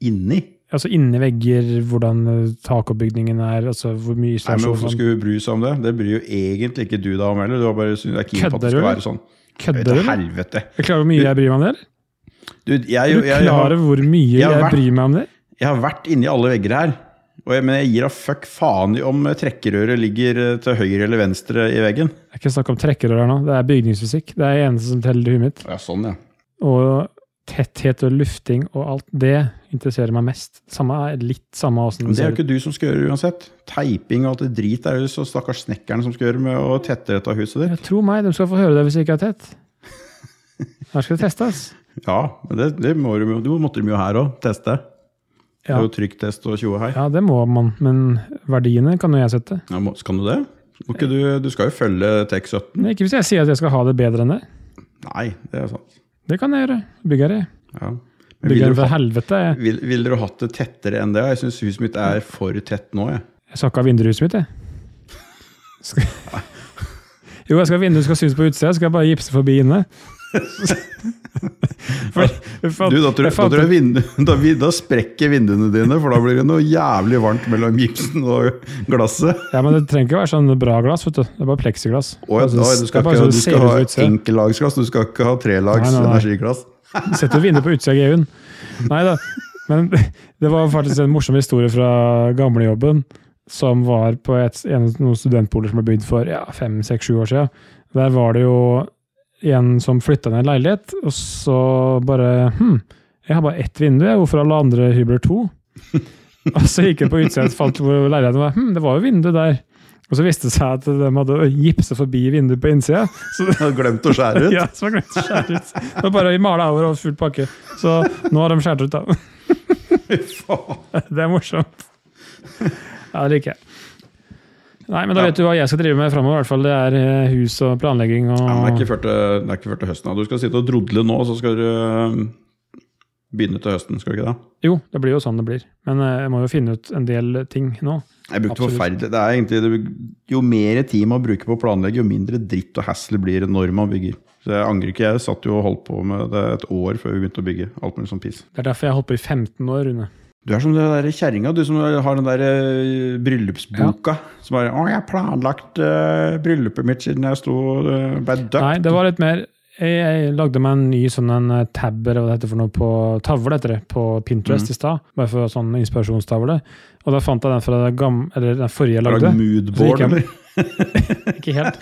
Inni? Altså inni vegger, hvordan eh, takoppbygningen er, altså hvor mye Nei, men Hvorfor isolasjon skulle hun bry seg om det? Det bryr jo egentlig ikke du deg om heller. Du har bare syntes det er keen på at Kødder det du, skal eller? være sånn. Jeg Kødder vet du? da eller? helvete. Er du klar over hvor mye jeg bryr meg om det? eller? Du, jeg, jeg, Er du jeg, jeg, klar har, over hvor mye Jeg har jeg vært- bryr meg om det? jeg har vært inni alle vegger her. Og jeg, men jeg gir da fuck faen i om eh, trekkerøret ligger eh, til høyre eller venstre i veggen. Det er ikke snakk om trekkerør her nå, det er bygningsfysikk. Det er det eneste som teller i huet mitt. Ja, sånn, ja. Og tetthet og lufting og alt det interesserer meg mest. Samme er litt samme åssen Men det det er ser jo ut. ikke du som skal gjøre det uansett. Teiping og alt det drit er jo så stakkars snekkeren som skal gjøre med å tette dette huset ditt. Jeg tror meg, de skal få høre det hvis jeg ikke er tett. Her skal det testes. Ja, men det, det må du, du måtte de jo her òg, teste. Det Ja. er jo trykktest og tjoe her. ja, det må man, men verdiene kan jo jeg sette. Ja, må, kan du det? Må ikke du, du skal jo følge TEK17. Men ikke hvis jeg sier at jeg skal ha det bedre enn det. Nei, det er sant. Det kan jeg gjøre. Bygger jeg. Ja. Men ville Bygger du, for hatt, helvete. Jeg, vil, vil dere hatt det tettere enn det? Jeg syns huset mitt er for tett nå. Jeg. jeg skal ikke ha vindruset mitt, jeg. Skal... Jo, jeg skal ha vinduet skal synes på utsida, skal jeg bare gipse forbi inne. For, for, Du, da, tror jeg, jeg fant da, tror jeg vindu- [LAUGHS] da, vi- da sprekker vinduene dine, for da blir det noe jævlig varmt mellom gipsen og glasset. Ja, men Det trenger ikke være sånn bra glass. vet du. Det er bare pleksiglass. Å, ja, Det er da, bare du sånn- skal, det er bare ikke, sånn du det skal ser ha ut som utsida. enkellagsglass, du skal ikke ha trelags Nei, nei, nei. energiglass. Setter vinduet på utsida av GU-en. Nei da. Men [LAUGHS] det var faktisk en morsom historie fra gamlejobben, som var på et, en, noen studentpoler som ble bygd for ja, fem, seks, sju år siden. Der var det jo en som flytta ned en leilighet, og så bare Hm, jeg har bare ett vindu, jeg. hvorfor alle andre hybler to? [LAUGHS] Og så gikk jeg på utsida og fant hvor leiligheten var. Hm, det var jo vindu der. Og så viste det seg at de hadde gipsa forbi vinduet på innsida. Så Jeg har glemt å skjære [LAUGHS] ut. ja, som har glemt å skjære ut. Det var bare å male over og full pakke. Så nå har de skjært ut, da. [LAUGHS] Faen. Det er morsomt. Ja, det liker jeg. Nei, men da Ja. vet du hva jeg skal drive med framover, i hvert fall. Det er eh, hus og planlegging og Ja, men det er ikke før til, det er ikke før til høsten. da. Du skal sitte og drodle nå, så skal du øh, eh, Begynne til høsten, skal vi ikke det? Jo, det blir jo sånn det blir. Men eh, jeg må jo finne ut en del ting nå. Jeg brukte Absolutt. forferdelig. Det er egentlig, det, jo mer tid man bruker på å planlegge, jo mindre dritt og hassle blir det når man bygger. Så jeg angrer ikke. Jeg satt jo og holdt på med det et år før vi begynte å bygge. Alt mulig sånn piss. Det er derfor jeg har holdt på i 15 år, Rune. Du er som den der kjerringa, du som har den der eh, bryllupsboka. Som bare 'Å, jeg har planlagt eh, bryllupet mitt siden jeg sto uh, ble døpt'. Nei, det var litt mer jeg, jeg lagde meg en ny sånn en eh, tab eller hva det heter for noe på tavle heter det, på Mm. Pinterest i stad. Bare for sånn inspirasjonstavle. Og da fant jeg den fra det gam- eller den forrige jeg Lagde lagde. Så gikk moodboard, jeg- eller? Ikke helt.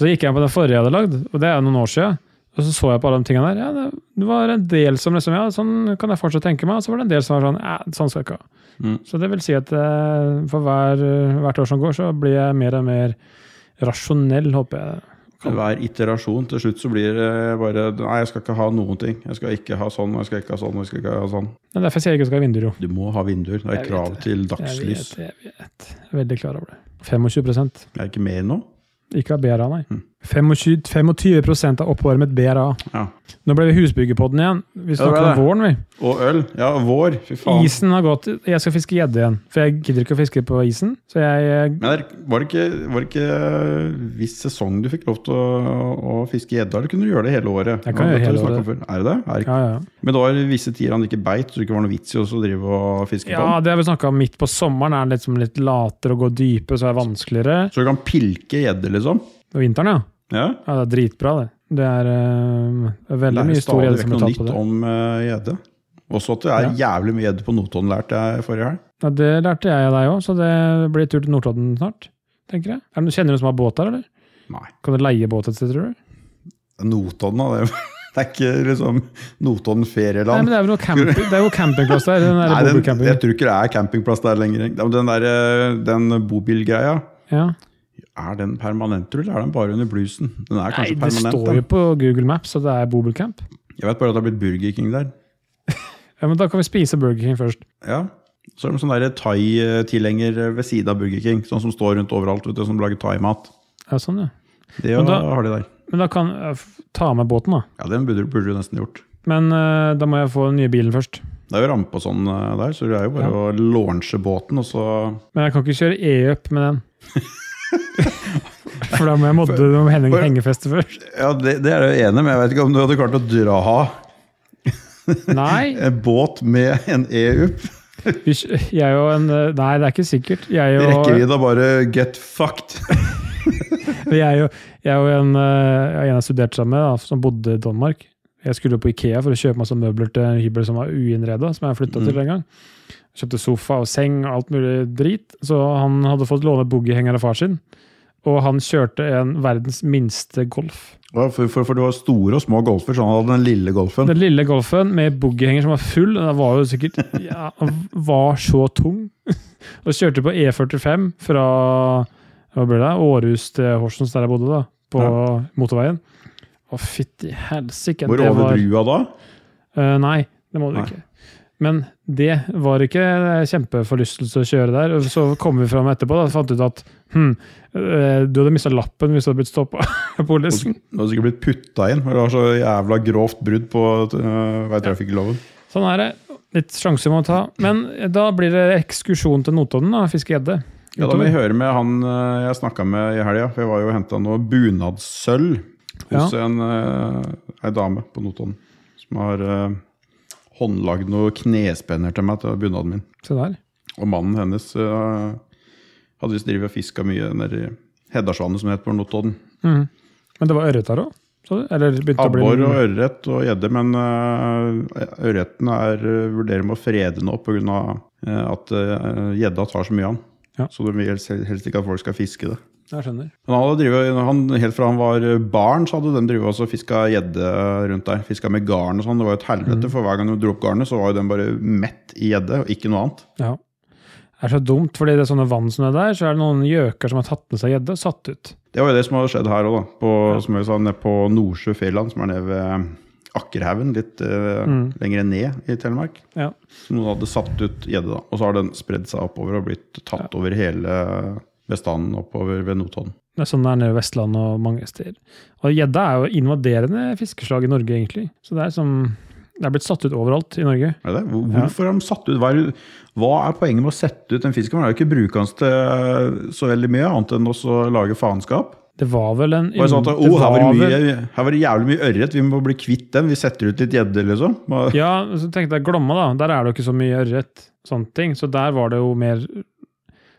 Så gikk jeg på den forrige jeg hadde lagd, og det er noen år siden. Og så så jeg på alle de tingene der. Ja, det, det var en del som liksom, ja, sånn kan jeg fortsatt tenke meg. Og så var det en del som var sånn, ja, sånn skal jeg ikke ha. Mm. Så det vil si at eh, for hver, hvert år som går, så blir jeg mer og mer rasjonell, håper jeg. Hver iterasjon. Til slutt så blir det bare 'Nei, jeg skal ikke ha noen ting'. Jeg skal ikke ha sånn, og jeg skal ikke ha sånn, og jeg skal ikke ha sånn. Det er derfor jeg sier jeg ikke skal ha vinduer, jo. Du må ha vinduer. Det Jeg er vet krav det. til Jeg dagslys. vet, jeg vet. Jeg er veldig klar over det. 25 Er det ikke mer nå? Ikke av BRA, nei. Mm. 25, 25 av oppvarmet BRA. Ja. Nå ble vi husbyggepodden igjen. Vi Ja, det ble snakker om det. våren, vi. Og øl. Ja, vår. Fy faen. Isen har gått. Jeg skal fiske gjedde igjen, for jeg gidder ikke å fiske på isen. Så jeg Men der, var, det ikke, var det ikke viss sesong du fikk lov til å, å fiske gjedde? Eller kunne du gjøre det hele året? Jeg kan gjøre Dette har vi hele snakket om før. Er det det? Er det? Ja, ja. ikke- Men det var visse tider han ikke beit, så det ikke var noe vits i å drive og fiske ja på den. det har vi snakka om. Midt på sommeren er det liksom litt latere å gå dype, så er det vanskeligere. Så du kan pilke gjedde, liksom? Og vinteren, ja. Ja. ja det er dritbra, det. Det er eh, Det veldig er mye stor stadig gjedde vekk som blir noe tatt på nytt det. om eh, gjedde. Også at det er jævlig mye gjedde på Notodden, lærte jeg forrige helg. Ja, det lærte jeg av deg òg, så det blir tur til Nordtodden snart. tenker jeg. Er det, noen- kjenner du noen som har båt der, eller? Nei. Kan du leie båt et sted, tror du? Notodden, da. det er [LAUGHS] jo- Det er ikke liksom Notodden Nei, men ferieland. Det er vel noe camping, det er jo campingplass der. den Nei, der den, bobilcampingen. jeg tror ikke det er campingplass der lenger. Den, der, eh, den bobilgreia Ja. Er den permanent, tror du, eller er den bare under bluesen? Den Nei, er kanskje det permanent. står jo på Google Maps at det er bobilcamp. da. Jeg vet bare at det har blitt Burger King der. Ja, men da kan vi spise Burger King først. Ja. Så er det en sånn der thai-tilhenger eh, ved siden av Burger King, sånn som står rundt overalt, vet du, som lager thaimat. Ja, sånn, ja. Det Men da- har de der. Men da kan jeg f- ta med båten, da. Ja, den burde, burde du nesten gjort. Men eh, da må jeg få den nye bilen først. Det er jo rampe og sånn eh, der, så det er jo bare å launche båten, og så Men jeg kan ikke kjøre e-up med [LAUGHS] den. For da må jeg modde noen henge, for- hengefeste først. Ja, det, det er jeg jo enig med, jeg vet ikke om du hadde klart å dra Nei, en båt med en e-up. vi, kj- jeg og en eh, Nei, det er ikke sikkert. Jeg og, Rekkevidda bare get fucked. [LAUGHS] jeg og, jeg og en, eh, en jeg studerte sammen med, da, som bodde i Danmark. Jeg skulle på Ikea for å kjøpe masse møbler til en hybel som var uinnreda, som jeg flytta til en gang. Kjøpte sofa og seng og alt mulig drit. Så han hadde fått låne boogiehenger av far sin. Og han kjørte en verdens minste golf. [LAUGHS] Ja, For, for, for det var store og små golfer, så han hadde den lille golfen. Den lille golfen med boogiehenger som var full, den var jo sikkert ja, den var så tung. [LAUGHS] Og kjørte på E45 fra hva ble det, Århus til Horsens, der jeg bodde, da, på motorveien. Å, fytti helsike. Hvor det over var- brua da? Eh, nei, det må du Nei. ikke. Men det var ikke kjempeforlystelse å kjøre der. Og Så kom vi fram etterpå da, og fant ut at hm, eh, du hadde mista lappen hvis du hadde blitt stoppa av [LAUGHS] polisen. Du hadde sikkert blitt putta inn, for det var så jævla grovt brudd på øh, veitrafikkloven. Sånn er det. Litt sjanser må ta. Men da blir det ekskursjon til Notodden, da. Fiske gjedde. Ja, da må Utover. jeg høre med han øh, jeg snakka med i helga, for jeg var jo og henta noe bunadssølv hos en øh, ei dame på Notodden som har øh, håndlagd noen knespenner til meg til bunaden min. Se der. Og mannen hennes øh, hadde visst drevet og fiska mye nedi Heddarsvannet, som det heter på Notodden. Mhm. Men det var ørret her òg? Eller begynte å bli Abbor og ørret og gjedde, men øh, ørreten er, øh, vurderer med å frede nå pga. Uh, at øh, gjedda tar så mye av den. Ja. Så de vil helst, helst ikke at folk skal fiske det. Jeg skjønner. Men han hadde drivet, han, helt fra han var eh, barn, så hadde den drivet også og fiska gjedde rundt der. Fiska med garn og sånn. Det var jo et helvete, for hver gang du dro opp garnet, så var jo den bare mett i gjedde, og ikke noe annet. Ja. Det er så dumt, fordi det er sånne vann som det der, så er det noen gjøker som har tatt med seg gjedde og satt ut. Det var jo det som hadde skjedd her òg, da. På, Som jeg sa, nede på Nordsjø Fjelland, som er nede ved eh, Akkerhaugen, litt eh, lenger ned i Telemark. Ja. Som noen hadde satt ut gjedde, da. Og så har den spredd seg oppover og blitt tatt over hele eh, bestanden oppover ved Notodden. Det er sånn det er nede i Vestlandet og mange steder. Og gjedde er jo invaderende fiskeslag i Norge, egentlig. Så det er som Det er blitt satt ut overalt i Norge. Er det? det? Hvor- Hvorfor har de satt ut? Hva er, hva er poenget med å sette ut en fisk? Man er jo ikke brukende til så veldig mye, annet enn også å lage faenskap. Det var vel en Bare sånn at, oh, her, var det Mm. vel- mye, her var det jævlig mye ørret, vi må bli kvitt den. Vi setter ut litt gjedde, liksom. Hva- [LAUGHS] Ja, så tenkte jeg Glomma, da. Der er det jo ikke så mye ørret. Sånne ting. Så der var det jo mer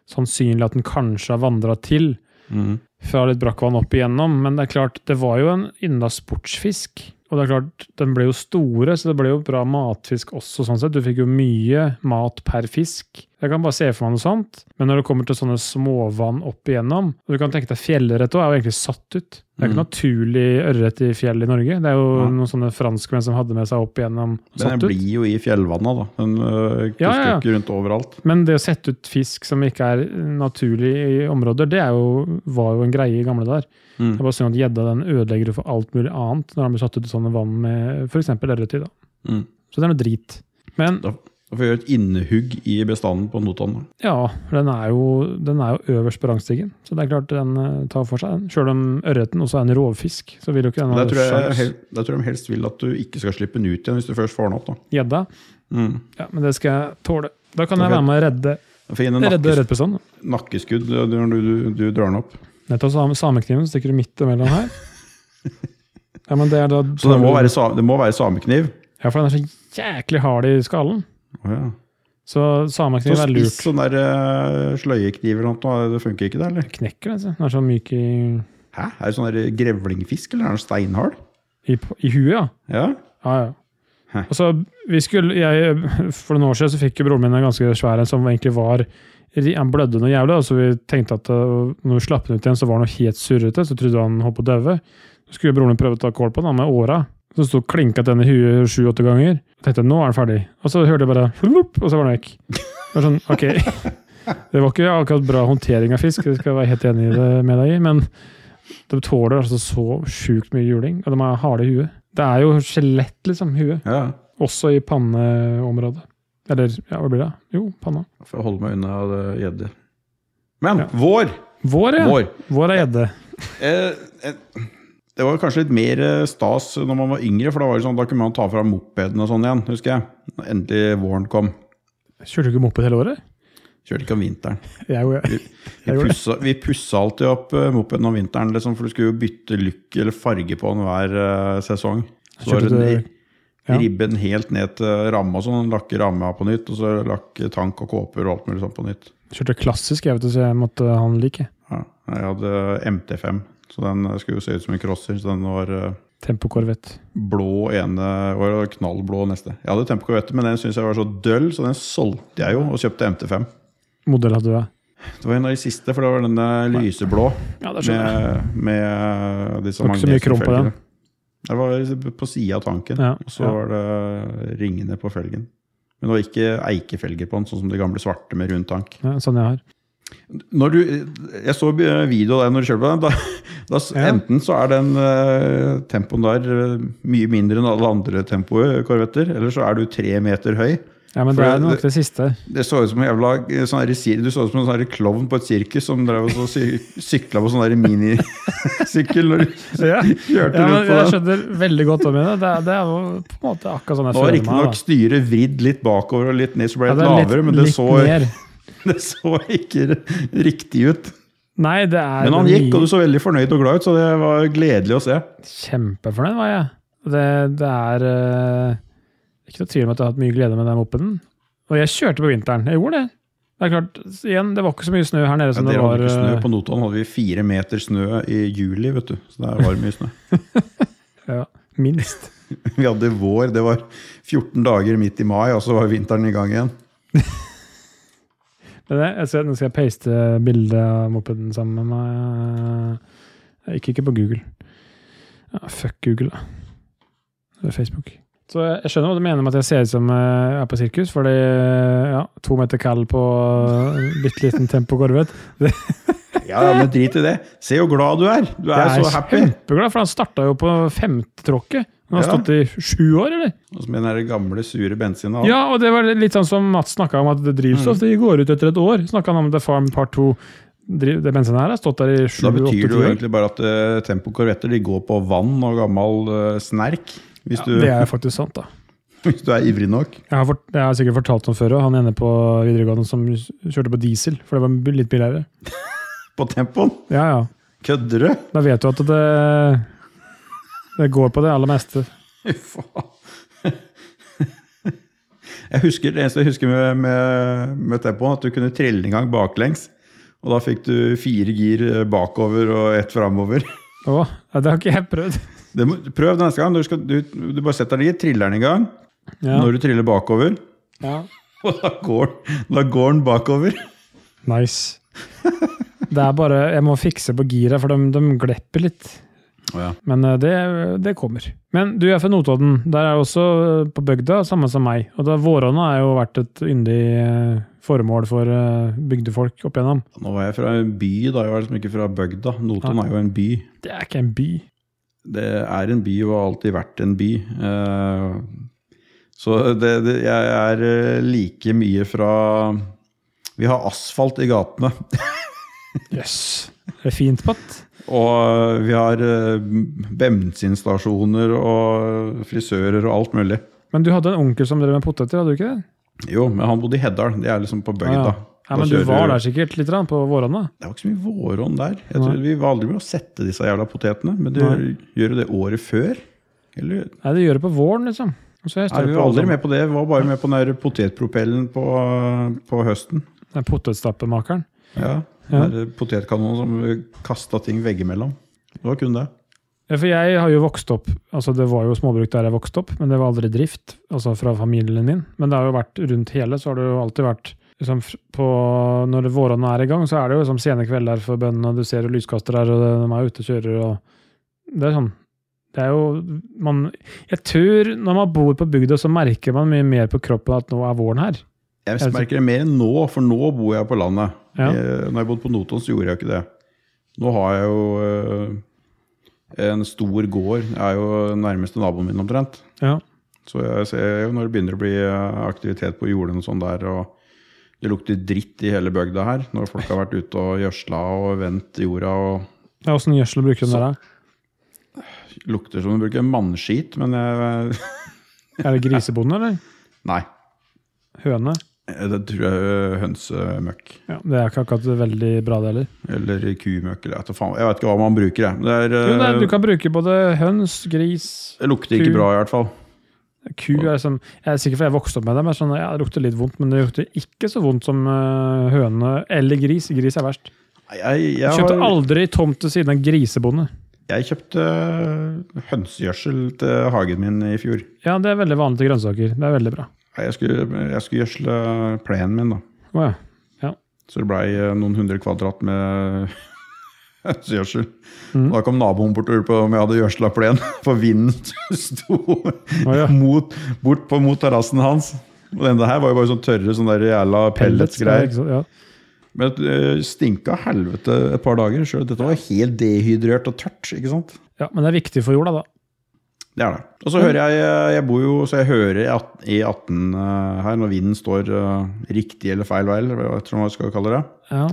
sannsynlig at den kanskje har vandra til Mm. fra litt brakkvann opp igjennom. Men det er klart, det var jo en innenlands sportsfisk. Og det er klart, den ble jo store, så det ble jo bra matfisk også, sånn sett. Du fikk jo mye mat per fisk. Jeg kan bare se for meg noe sånt. Men når det kommer til sånne småvann opp igjennom og Du kan tenke deg fjellørret òg, er jo egentlig satt ut. Det er ikke Mm. naturlig ørret i fjell i Norge. Det er jo Nei. noen sånne franskmenn som hadde med seg opp igjennom Den satt ut. blir jo i fjellvanna, da. Den øh, Ja, puster ja. ikke rundt overalt. Men det å sette ut fisk som ikke er naturlig i områder, det er jo, var jo en greie i gamle dager. Mm. Det er bare synd at gjedda den ødelegger jo for alt mulig annet når den blir satt ut i sånne vann med f.eks. ørret i. da. Mm. Så det er noe drit. Men Da da får vi gjøre et innhugg i bestanden på Notodden. da. ja, den er jo, den er jo øverst på rangstigen, så det er klart den eh, tar for seg den. Sjøl om ørreten også er en rovfisk, så vil jo ikke den ha Der tror, jeg, sjans. hel- der tror jeg de helst vil at du ikke skal slippe den ut igjen hvis du først får den opp. da. Gjedda? Mm. Ja, men det skal jeg tåle. Da kan jeg Ok. være med å redde, Fine redde nakkes, ørretbestanden. nakkeskudd øh, når du, du, du drar den opp. Nettopp same- samekniven stikker du midt imellom [LAUGHS] her. Ja, men det er da Så det må være, sa- det må være samekniv. Ja, for den er så jæklig hard i skallen. Å ja. Så Så samekniv er spiss lurt. sånn der eh, sløyekniv eller noe, sånt, det funker ikke det, eller? Knekker den, altså. Den er så myk i, Hæ? Er det sånn der grevlingfisk, eller er den steinhard? i, i huet, ja. Ja. Ja, ja. Hæ. Og så vi skulle, jeg, For noen år siden så fikk jo broren min en ganske svær en som egentlig var ri- Han blødde noe jævlig, og så vi tenkte at uh, når vi slapp den ut igjen, så var han noe helt surrete, så trodde han holdt på å daue. Så skulle broren min prøve å ta kål på den da, med åra. Så sto klinka til den i huet sju-åtte ganger. Jeg tenkte nå er den ferdig. Og så hørte jeg bare «Flup», og så var den vekk. Det var sånn, ok. Det var ikke akkurat bra håndtering av fisk, det skal jeg være helt enig i det med deg i, men de tåler altså så sjukt mye juling, og de er harde i huet. Det er jo skjelett, liksom, huet. ja. Også i panneområdet. Eller ja, hva blir det? Jo, panna. For å holde meg unna det gjedder. Men Ja. vår! Vår, ja. Vår, Vår. er gjedde. Eh, eh, det var kanskje litt mer eh, stas når man var yngre, for da var det sånn, da kunne man ta fra mopeden og sånn igjen, husker jeg. Når endelig våren kom. Kjørte du ikke moped hele året? Kjørte ikke om vinteren. Jeg gjorde det. Vi Jeg gjorde det. pussa, vi pussa alltid opp eh, mopeden om vinteren, liksom, for du skulle jo bytte look eller farge på den hver eh, sesong. Så var Kjørte det du- ri- ja. ribben helt ned til ramma, sånn. Lakke ramma på nytt, og så lakke tank og kåper og alt mulig sånn på nytt. Kjørte klassisk, jeg vet du, så jeg måtte ha den like. Ja. Jeg hadde MT5, så den eh, skulle jo se ut som en crosser. Så den var eh, Tempokorvett. blå ene år og knallblå neste. Jeg hadde Tempo Corvette, men den syntes jeg var så døll, så den solgte jeg jo og kjøpte MT5. Modell hadde du, ja. Det var en av de siste, for det var denne lyseblå Ja, det skjønner jeg. med, med disse Det var ikke så mye krom på magnesiumfelgene. Det var på sida av tanken, Ja, og så ja. var det ringene på felgen. Men det var ikke eikefelger på den, sånn som de gamle svarte med rund tank. Ja, sånn jeg har. Når du, jeg så video av deg når du kjørte på den. Da, da, Ja. Enten så er den eh, tempoen der eh, mye mindre enn alle andre tempokorvetter, eller så er du tre meter høy. Ja, men For det det- er nok det siste. Det så ut som en jævla eh, sånn her sir- Du så ut som en sånn her klovn på et sirkus som drev og så sy sykla på sånn her [LAUGHS] minisykkel når du Ja. [LAUGHS] kjørte Ja, men rundt på jeg den. skjønner veldig godt hva du mener. Det er, det er jo på en måte akkurat sånn jeg Nå var føler meg. riktignok da. styret vridd litt bakover og litt ned, så ble Ja, det det er lavere, men det så, ned. [LAUGHS] det så ikke riktig ut. Nei, det er Men han det gikk, nye- og du så veldig fornøyd og glad ut, så det var gledelig å se. Kjempefornøyd var jeg. Det, det er eh, ikke noe tvil om at jeg har hatt mye glede med den mopeden. Og jeg kjørte på vinteren. Jeg gjorde det. Det er klart, igjen, det var ikke så mye snø her nede Ja, som det dere var hadde ikke snø eh, på Notodden. Hadde vi fire meter snø i juli, vet du. Så det var mye snø. [LAUGHS] ja, minst. [LAUGHS] Vi hadde vår, det var 14 dager midt i mai, og så var vinteren i gang igjen. Men jeg, jeg ser, nå skal jeg paste bildet av mopeden sammen med meg. Jeg gikk ikke på Google. Ja, fuck Google, da. Eller Facebook. Så jeg, jeg skjønner hva du mener med at jeg ser ut som eh, jeg er på sirkus, fordi ja, to meter kall på en bitte liten tempokorvet. Ja, ja, men drit i det. Se hvor glad du er. Du er, så happy. kjempeglad, for han starta jo på femte tråkket. Han har Ja. stått i sju år, eller? Og så med den der gamle, sure bensinen. Ja, og det var litt sånn som Mats snakka om, at det Mm. drivstoff det går ut etter et år. Snakka han om The Farm Part 2. Driv, det bensinet her har stått der i da betyr det jo sju-åtte år. egentlig bare at uh, tempokorvetter de går på vann og gammel eh, snerk. Hvis Ja, du, det er faktisk sant, da. [LAUGHS] Hvis du er ivrig nok. Jeg har, fort, jeg har sikkert fortalt om før òg. Han ene på videregående som kjørte på diesel, for det var litt billigere. På tempoen! Ja, ja. Kødder du? [LAUGHS] Da vet du at det, det går på det aller meste. Fy faen. [LAUGHS] Jeg husker, det eneste jeg husker med, med, med tempoen, at du kunne trille en gang baklengs. Og da fikk du fire gir eh, bakover og ett framover. [LAUGHS] Å, ja, det har ikke jeg prøvd. Det må, prøv neste gang. Du, skal, du, du bare setter den i, triller den i gang Ja. når du triller bakover. [LAUGHS] Ja. Og da går, da går den bakover. Nice. Det er bare Jeg må fikse på gira, for de, de glepper litt. Men eh, det, det kommer. Men du, jeg er fra Notodden. Der er jeg også eh, på bygda, samme som meg. Og da Våronna har jo vært et yndig eh, formål for eh, bygdefolk opp igjennom. Nå var jeg fra en by, da. Jeg var liksom ikke fra bygda. Notodden er jo en by. Det er ikke en by. Det er en by og har alltid vært en by. Eh, Så det, det, jeg er eh, like mye fra Vi har asfalt i gatene. [LAUGHS] Jøss. Yes. Det er fint patt. Og vi har eh, bensinstasjoner og frisører og alt mulig. Men du hadde en onkel som drev med poteter, hadde du ikke det? Jo, men han bodde i Heddal. Det er liksom på bygda. Ja, Ja, men du var der sikkert litt grann, på Våronna? Det var ikke så mye vårånd der. Jeg tror Vi var aldri med å sette disse jævla potetene. Men du Nei. gjør jo det året før. Eller, Nei, det gjør det på våren, liksom. Og så nei, høster vi du var på aldri med på det. Vi var bare med på den der potetpropellen på, på høsten. Den potetstappemakeren. Ja, Ja. Den der Potetkanonen som kasta ting veggimellom. Det var kun det. Ja, for jeg har jo vokst opp, altså det var jo småbruk der jeg vokste opp, men det var aldri drift, altså fra familien min. Men det har jo vært rundt hele, så har det jo alltid vært liksom, f- på, Når vårene er i gang, så er det jo liksom, sene kvelder for bøndene, og du ser jo lyskaster her, og det- de er ute og kjører, og Det er sånn Det er jo man, Jeg tror når man bor på bygda, så merker man mye mer på kroppen at nå er våren her. Jeg Altså- merker det mer enn nå, for nå bor jeg på landet. Ja. Jeg, når jeg bodde på Notodden, så gjorde jeg jo ikke det. Nå har jeg jo eh, en stor gård. Jeg er jo nærmeste naboen min omtrent. Ja. Så jeg ser jo når det begynner å bli eh, aktivitet på jordene og sånn der, og det lukter dritt i hele bygda her når folk har vært ute og gjødsla og vendt jorda og Ja, Åssen gjødsel bruker du den der? da? lukter som de bruker mannskit, men jeg [LAUGHS] Er det grisebonde, eller? Nei. [LAUGHS] Høne? Det tror jeg er hønsemøkk Ja, det er ikke akkurat veldig bra, det heller. eller kumøkk eller jeg vet da faen- Jeg vet ikke hva man bruker, jeg. Det, er, Jo, nei, eh, du kan bruke både høns, gris det lukter ikke ku. bra i hvert fall. Ku er liksom, Jeg er sikker for jeg vokste opp med det, men sånn, ja, det lukter litt vondt. Men det lukter ikke så vondt som eh, høne eller gris. Gris er verst. Nei, Jeg, jeg, Jeg kjøpte har, aldri tomt til siden av grisebonde. jeg kjøpte eh, hønsegjødsel til hagen min i fjor. Ja, det er veldig vanlig til grønnsaker. Det er veldig bra. Nei, Jeg skulle, jeg skulle gjødsle plenen min, da. Å ja. Så det blei eh, noen hundre kvadrat med [LAUGHS] hønsegjødsel. Mm. Da kom naboen bort og lurte på om jeg hadde gjødsla plen, [LAUGHS] for vinden sto ja. mot, bort på, mot terrassen hans. Og denne her var jo bare sånn tørre sånn der jævla Ja, pelletsgreier. ikke sant? Ja. Men det stinka helvete et par dager. Selv. Dette var helt dehydrert og tørt. ikke sant? ja, Men det er viktig for jorda, da. Det er det. Og så hører jeg eh, Jeg bor jo, så jeg hører i at- i 18 eh, her, når vinden står eh, riktig eller feil vei, eller hva jeg tror man skal kalle det. Ja.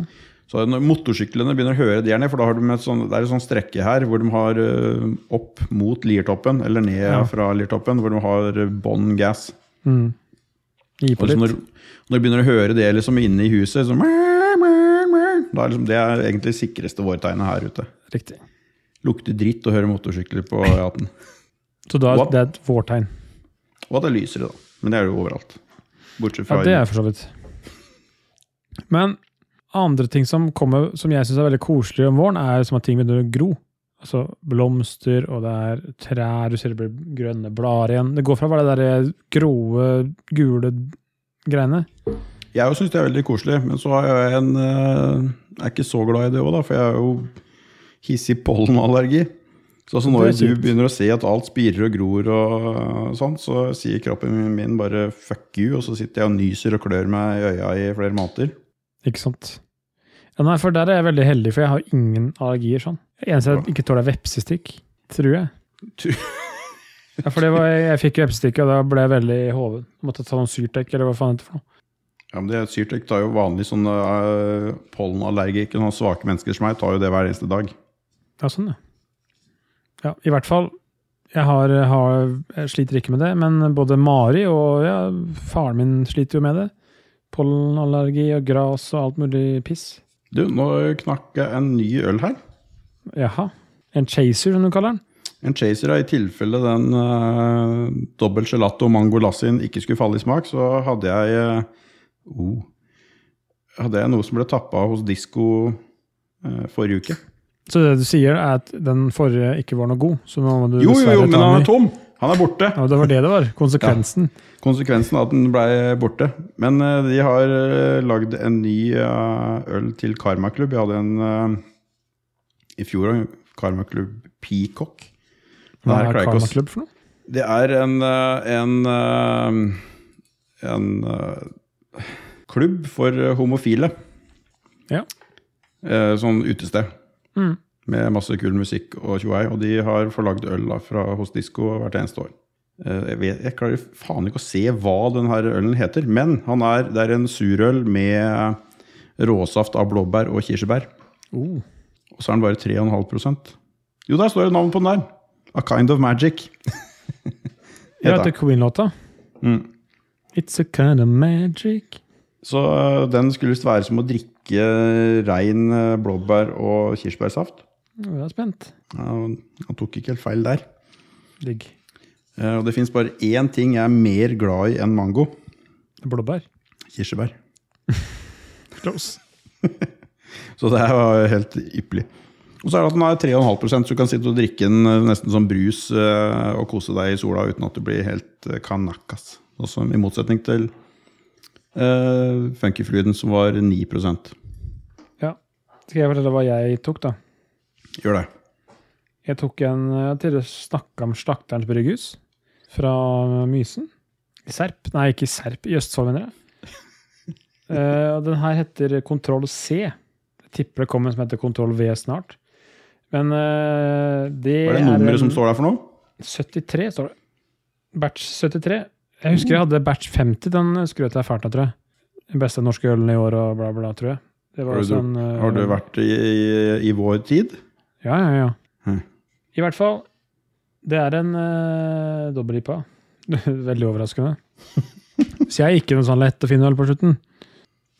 Så når motorsyklene begynner å høre det her ned, for da har de et sånn, det er et sånt strekke her hvor de har eh, opp mot liertoppen, eller ned Ja. fra liertoppen, hvor de har eh, bånn gass. Mm. Gi Og på så litt. Altså, når, når du begynner å høre det liksom inne i huset, så, da er liksom, det er egentlig sikreste vårtegnet her ute. Riktig. Lukter dritt å høre motorsykler på E18. Så da What? det er et vårtegn. Og at det lyser, da. Men det er jo overalt. Bortsett Ja, fra det er for så vidt. Men andre ting som kommer, som jeg syns er veldig koselig om våren, er som at ting begynner å gro. Altså blomster, og det er trær, du ser det blir grønne blader igjen. Det går fra å være de der grå, gule greiene. Jeg òg syns det er veldig koselig, men så har jeg en eh, Jeg er ikke så glad i det òg, da, for jeg har jo hissig pollenallergi. Så altså når Det er du kjipt. begynner å se at alt spirer og gror, og eh, sånn, så sier kroppen min bare 'fuck you', og så sitter jeg og nyser og klør meg i øya i flere måneder. Ikke sant? Ja, nei, for der er jeg veldig heldig, for jeg har ingen allergier sånn. Det eneste jeg ikke tåler, er vepsestikk. Tror jeg. Tror- Ja, for det var, jeg fikk vepsestikk, og da ble jeg veldig hoven. Måtte ta noen syrtek, eller hva faen det er for noe. Ja, men det Syrtek tar jo vanlig sånn uh, pollenallergikere, sånne svake mennesker som meg, tar jo det hver eneste dag. Ja, sånn, ja. ja. I hvert fall, Jeg har, har, jeg sliter ikke med det, men både Mari og ja, faren min sliter jo med det. Pollenallergi og gras og alt mulig piss. Du, nå knakk jeg en ny øl her. Jaha. En chaser, som du kaller den. En chaser er i tilfelle den uh, dobbel gelato mango lassien ikke skulle falle i smak, så hadde jeg eh, oh, Hadde jeg noe som ble tappa hos Disko eh, forrige uke. Så det du sier, er at den forrige ikke var noe god? Så nå må du Jo, jo, dessverre ta jo, men den han i. er tom! Han er borte. Ja, det var det det var. Konsekvensen. Konsekvensen er at den ble borte. Men eh, de har eh, lagd en ny eh, øl til Karmaklubb. Jeg hadde en eh, i fjor, en Karmaklubb Peacock. Hva Nei, er Kraikos. Karmaklubb for noe? Det er en, eh, en, eh, en eh, klubb for eh, homofile. Ja. Eh, Sånn utested. Mm. Med masse kul musikk og tjoei. Og de har forlagd øl da, fra hos Disko hvert eneste år. Eh, Jeg, vet, jeg klarer faen ikke å se hva den her ølen heter, men han er, det er en surøl med råsaft av blåbær og kirsebær. Oh. Og så er den bare 3,5 Jo, der står det navnet på den der! A Kind of Magic. Ja, Heter etter den. Queen-låta. Mm. It's a kind of magic. Så øh, den skulle visst være som å drikke rein øh, blåbær og kirsebærsaft. Nå er jeg spent. Ja, og Han tok ikke helt feil der. Digg. Eh, Og det fins bare én ting jeg er mer glad i enn mango. Blåbær. Kirsebær. Close. Så det her var helt ypperlig. Og så er det at den er 3,5 så du kan sitte og drikke den øh, nesten som brus øh, og kose deg i sola uten at du blir helt øh, kanakas. Og som- I motsetning til uh, funkyfluiden, som var 9 Gjør Ja. Skal jeg fortelle hva jeg tok, da? det. Jeg tok en eh, Jeg har tidligere snakka om Slakterens brygghus fra Mysen. I Serp. Nei, ikke i Serp. I Østfold, mener [LAUGHS] jeg. Eh, og den her heter Kontroll C. Jeg tipper det kommer en som heter Kontroll V snart. Men eh, det Hva er det en- nummeret som står der for noe? 73 står det. Batch 73. Jeg husker jeg hadde batch 50. Den skrøt jeg fælt av, tror jeg. Den beste norske ølen i år og bla, bla, tror jeg. Det var Har du- også en, eh, Har du vært i, i, i vår tid? Ja, ja, ja. Hm. I hvert fall, det er en uh, dobbel IPA. [LAUGHS] Veldig [LAUGHS] overraskende. Så jeg er ikke noe sånn lett å finne øl på slutten.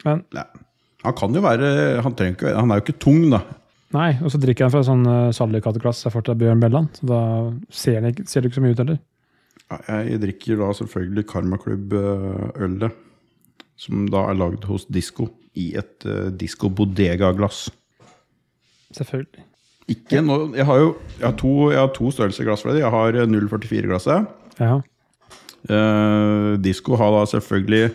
Han kan jo være Han, trenger ikke, han er jo ikke tung, da. Nei, og så drikker jeg den fra sånn uh, salgkateglass jeg får til Bjørn Belland. Så da ser det ikke, ser det ikke så mye ut heller. Ja, Jeg drikker da selvfølgelig Karmaklubb-ølet. Som da er lagd hos Disko i et uh, Disko Bodega-glass. Selvfølgelig. Ikke noe Jeg har jo jeg har to, jeg har to størrelser glass for det. Jeg har eh, 044-glasset. Ja. Eh, Disko har da selvfølgelig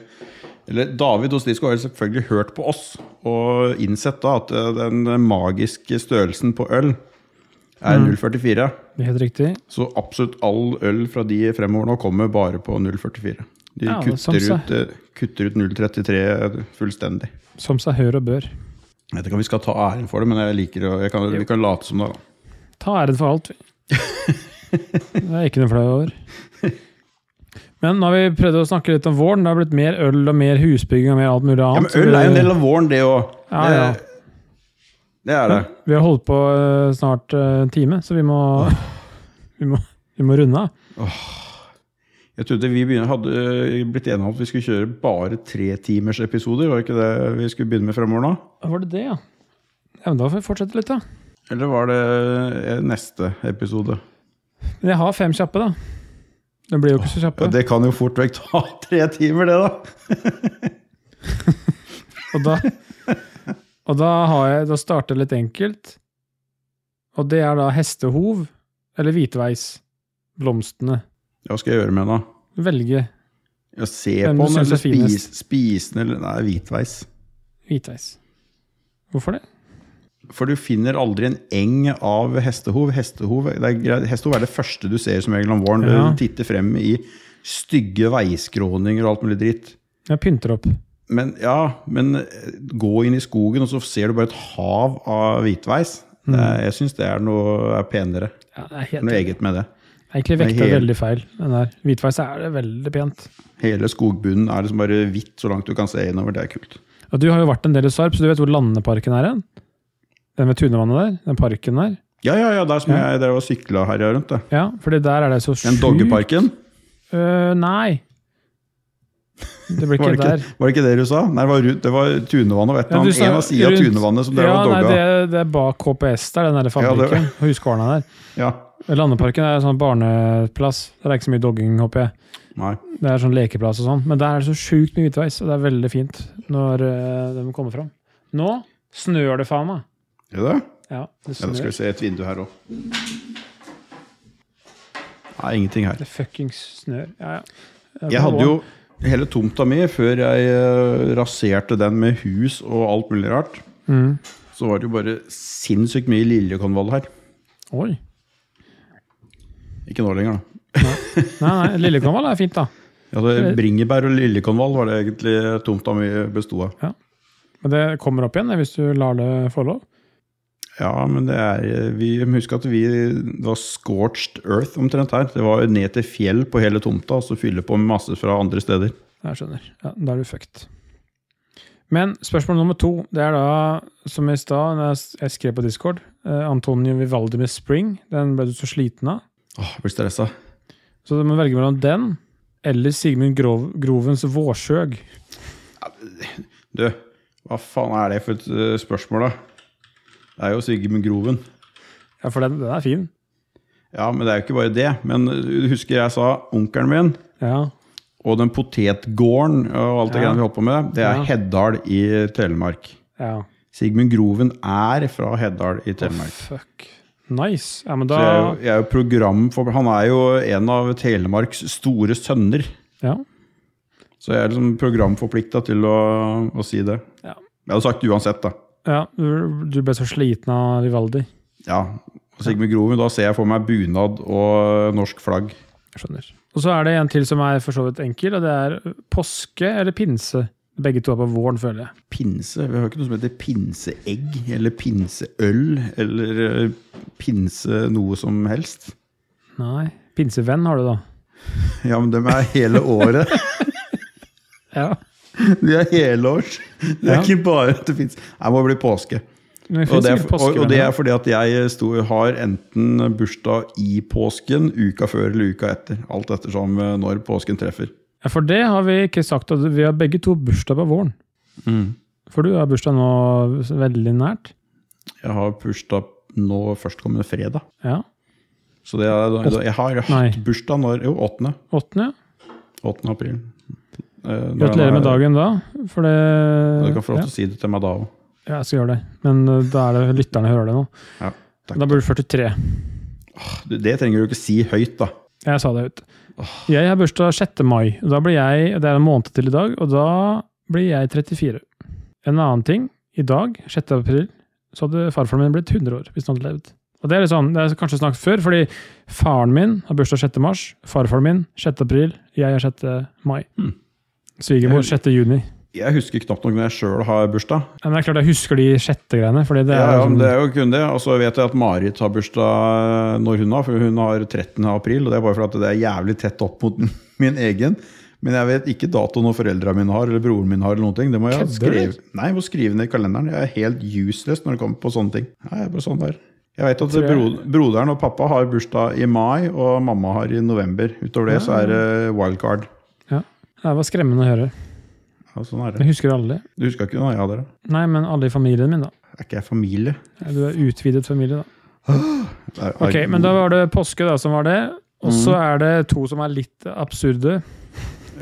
Eller David hos Disko har jo selvfølgelig hørt på oss og innsett da at eh, den magiske størrelsen på øl er Mm. 044. det er Helt riktig. Så absolutt all øl fra de fremover nå kommer bare på 0,44. De Ja, som kutter, seg. ut, eh, kutter ut 0,33 fullstendig. Som seg hør og bør. Jeg vet ikke om vi skal ta æren for det, men jeg liker det. og Jeg kan, vi kan late som det. da. Ta æren for [LAUGHS] alt, vi. Det er ikke noe flau over. Men nå har vi prøvd å snakke litt om våren. Det har blitt mer øl og mer husbygging og mer alt mulig Ja, annet. men øl er jo en del av våren, det òg. Ja, ja. Det er det. Vi har holdt på eh, snart eh, en time, så vi må, [LAUGHS] vi må, vi må runde av. Jeg trodde vi begynner, hadde eh, blitt enige om at vi skulle kjøre bare tretimersepisoder. Var det ikke det vi skulle begynne med fremover nå? Var det det, ja? ja men da får vi fortsette litt, da. Eller var det eh, neste episode? Men jeg har fem kjappe, da. Det blir jo ikke så Ja, kjappe. det kan jo fort vekk ta [LAUGHS] tre timer, det, da. Og [LAUGHS] da, og da, har jeg, da starter jeg litt enkelt. Og det er da hestehov eller hvitveis. Blomstene. Ja, Hva skal jeg gjøre med den, da? Velge Ja, se Hvem på du den, synes eller er finest? spis, spise den, eller Nei, hvitveis. hvitveis. Hvorfor det? For du finner aldri en eng av hestehov. Hestehov, det er, greit- hestehov er det første du ser som regel om våren. Ja. Du titter frem i stygge veiskråninger og alt mulig dritt. Jeg pynter opp. Men, ja, men eh, gå inn i skogen, og så ser du bare et hav av hvitveis. Mm. Det er- Jeg syns det er noe er penere. Ja, det er Det er helt, Noe eget med det. egentlig det er vekta helt- veldig feil. Den der. Hvitveis er det veldig pent. Hele skogbunnen er liksom bare hvitt så langt du kan se innover. Det er kult. Ja, du har jo vært en del i Sarp, så du vet hvor landeparken er hen? Den ved Tunevannet der? Den parken der? Ja, ja, ja, der som jeg drev og sykla her rundt. Det. Ja, fordi der er det så Den sjukt Doggeparken. Øh, nei. [LAUGHS] Det blir Var ikke, det, ikke, der. var det ikke det du sa? Nei, det var, rundt- det var Tunevannet, vet du. Ja, du sa en av sida av rundt- Tunevannet som drev Ja, og nei, dogga. det, det er bak KPS der, den der [LAUGHS] fabrikken. Huskvarna der. Ja, Landeparken er en sånn barneplass. Der er det ikke så mye dogging, håper jeg. nei. Det er sånn lekeplass og sånn. Men der er det så sjukt mye hvitveis, og det er veldig fint når øh, de kommer fram. Nå snør det faen meg. Er det det? Ja, det Ja, da skal snør. vi se et vindu her òg. Nei, ingenting her. Det fuckings snør. Ja, ja. Jeg hadde jo hele tomta mi før jeg eh, raserte den med hus og alt mulig rart. Mhm. Så var det jo bare sinnssykt mye liljekonvall her. Oi. Ikke nå lenger, da. Nei, nei, Lillekonvall er fint, da. Ja, det Bringebær og liljekonvall var det egentlig tomta mi besto av. Men det kommer opp igjen det, hvis du lar det få lov. Ja, men det er eh, vi, Husk at vi det var scorched earth omtrent her. Det var ned til fjell på hele tomta, og så fylle på med masse fra andre steder. Jeg skjønner. Ja, da er du fucked. Men spørsmål nummer to, det er da, som i stad, når jeg- jeg skrev på Discord eh, Antonio Vivaldi med 'Spring'. Den ble du så sliten av. Åh, jeg blir stressa. Så du må velge mellom den eller Sigmund Grov Grovens 'Vårsøg'. Du, hva faen er det for et eh, spørsmål, da? Det er jo Sigmund Groven. Ja, for den, den er fin. Ja, men det er jo ikke bare det. Men eh, du husker jeg sa onkelen min Ja. og den potetgården eh, og alt det Ja. greiene vi holdt på med, det er Ja. Heddal i Telemark. ja. Sigmund Groven er fra Heddal i Å, Telemark. fuck. Nice. Ja, men Så jeg, er jo- da jeg er jo program for, han er jo en av Telemarks store sønner. Ja. Så jeg er liksom programforplikta til å, å si det. Ja. Jeg hadde sagt det uansett, da. ja du, du ble så sliten av Vivaldi. Ja. Og Sigmund Groven, da ser jeg for meg bunad og norsk flagg. Jeg skjønner. Og så er det en til som er for så vidt enkel, og det er påske eller pinse. Begge to er på våren, føler jeg. Pinse? Vi har ikke noe som heter pinseegg eller pinseøl eller eh, pinse noe som helst. Nei. Pinsevenn har du, da. Ja, men dem er hele året. Ja. De er helårs. Det er Ja. ikke bare at det fins Jeg må bli påske. Men det Og finnes det, er, sikkert og, og det er påskevenner. fordi at jeg sto, har enten bursdag i påsken, uka før eller uka etter. Alt ettersom eh, når påsken treffer. Ja, for det har vi ikke sagt. at Vi har begge to bursdag på våren. Mm. For du har bursdag nå veldig nært. Jeg har bursdag nå førstkommende fredag. Ja. Så det er, jeg har Nei. hatt bursdag når Jo, 8. Åttende. 8. april. Eh, når Gratulerer jeg- med dagen da. For det Du kan få lov ja. til å si det til meg da òg. ja, jeg skal gjøre det. Men uh, da er det lytterne hører det nå. Ja, takk. Da blir du 43. Du, Det trenger du ikke si høyt, da. Jeg sa det ut. Jeg har bursdag 6. mai. og Da blir jeg, det er en måned til i dag, og da blir jeg 34. En annen ting, i dag, 6. april, så hadde farfaren min blitt 100 år hvis han hadde levd. Og det er litt sånn, det er kanskje snakket før, fordi faren min har bursdag 6. mars, farfaren min 6. april, jeg er 6. mai. Hmm. Svigermor 6. juni. Jeg husker knapt nok når jeg sjøl har bursdag. Ja, Men det er klart jeg husker de sjette greiene, fordi det Ja, er ja, liksom- men det er jo kun det. Og så vet jeg at Marit har bursdag når hun har, for hun har 13. april. Og det er bare fordi det er jævlig tett opp mot [LAUGHS] min egen. Men jeg vet ikke datoen når foreldra mine har, eller broren min har. eller noen ting. Det må jeg Kødder du? skrive. Nei, jeg må skrive ned i kalenderen. Jeg er helt useless når det kommer på sånne ting. Nei, jeg er bare sånn der. Jeg vet at Tror jeg- bro, Broderen og pappa har bursdag i mai, og mamma har i november. Utover det så er det Ah. wildcard. det var skremmende å høre. Ja, sånn er det. Jeg husker alle. Du huska ikke noe? Ja, dere. Nei, men alle i familien min da. Er ikke jeg familie? Du er utvidet familie da. Det er- Ok, men da var det påske da som var det. Og så Mm. er det to som er litt absurde.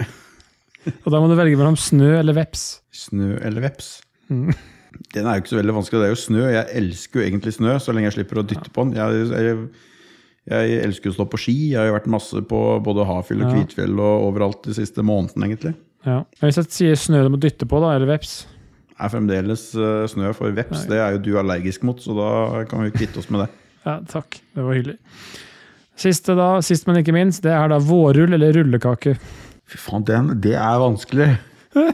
Og da må du velge mellom snø eller veps. Snø eller veps? Mm. [LAUGHS] Den er jo ikke så veldig vanskelig. Det er jo snø. Jeg elsker jo egentlig snø, så lenge jeg slipper å dytte på den. Jeg, jeg, jeg elsker å stå på ski. Jeg har jo vært masse på både Hafjell og Ja. Kvitfjell og overalt de siste månedene, egentlig. Ja. Men Hvis jeg sier snø du må dytte på, da, eller veps Er fremdeles eh, snø for veps. Det er jo du allergisk mot, så da kan vi kvitte oss med det. Ja, takk. Det var hyggelig. Siste da, sist, men ikke minst, det er da vårrull eller rullekake. [LAUGHS] Fy faen, den, det er vanskelig. [LAUGHS]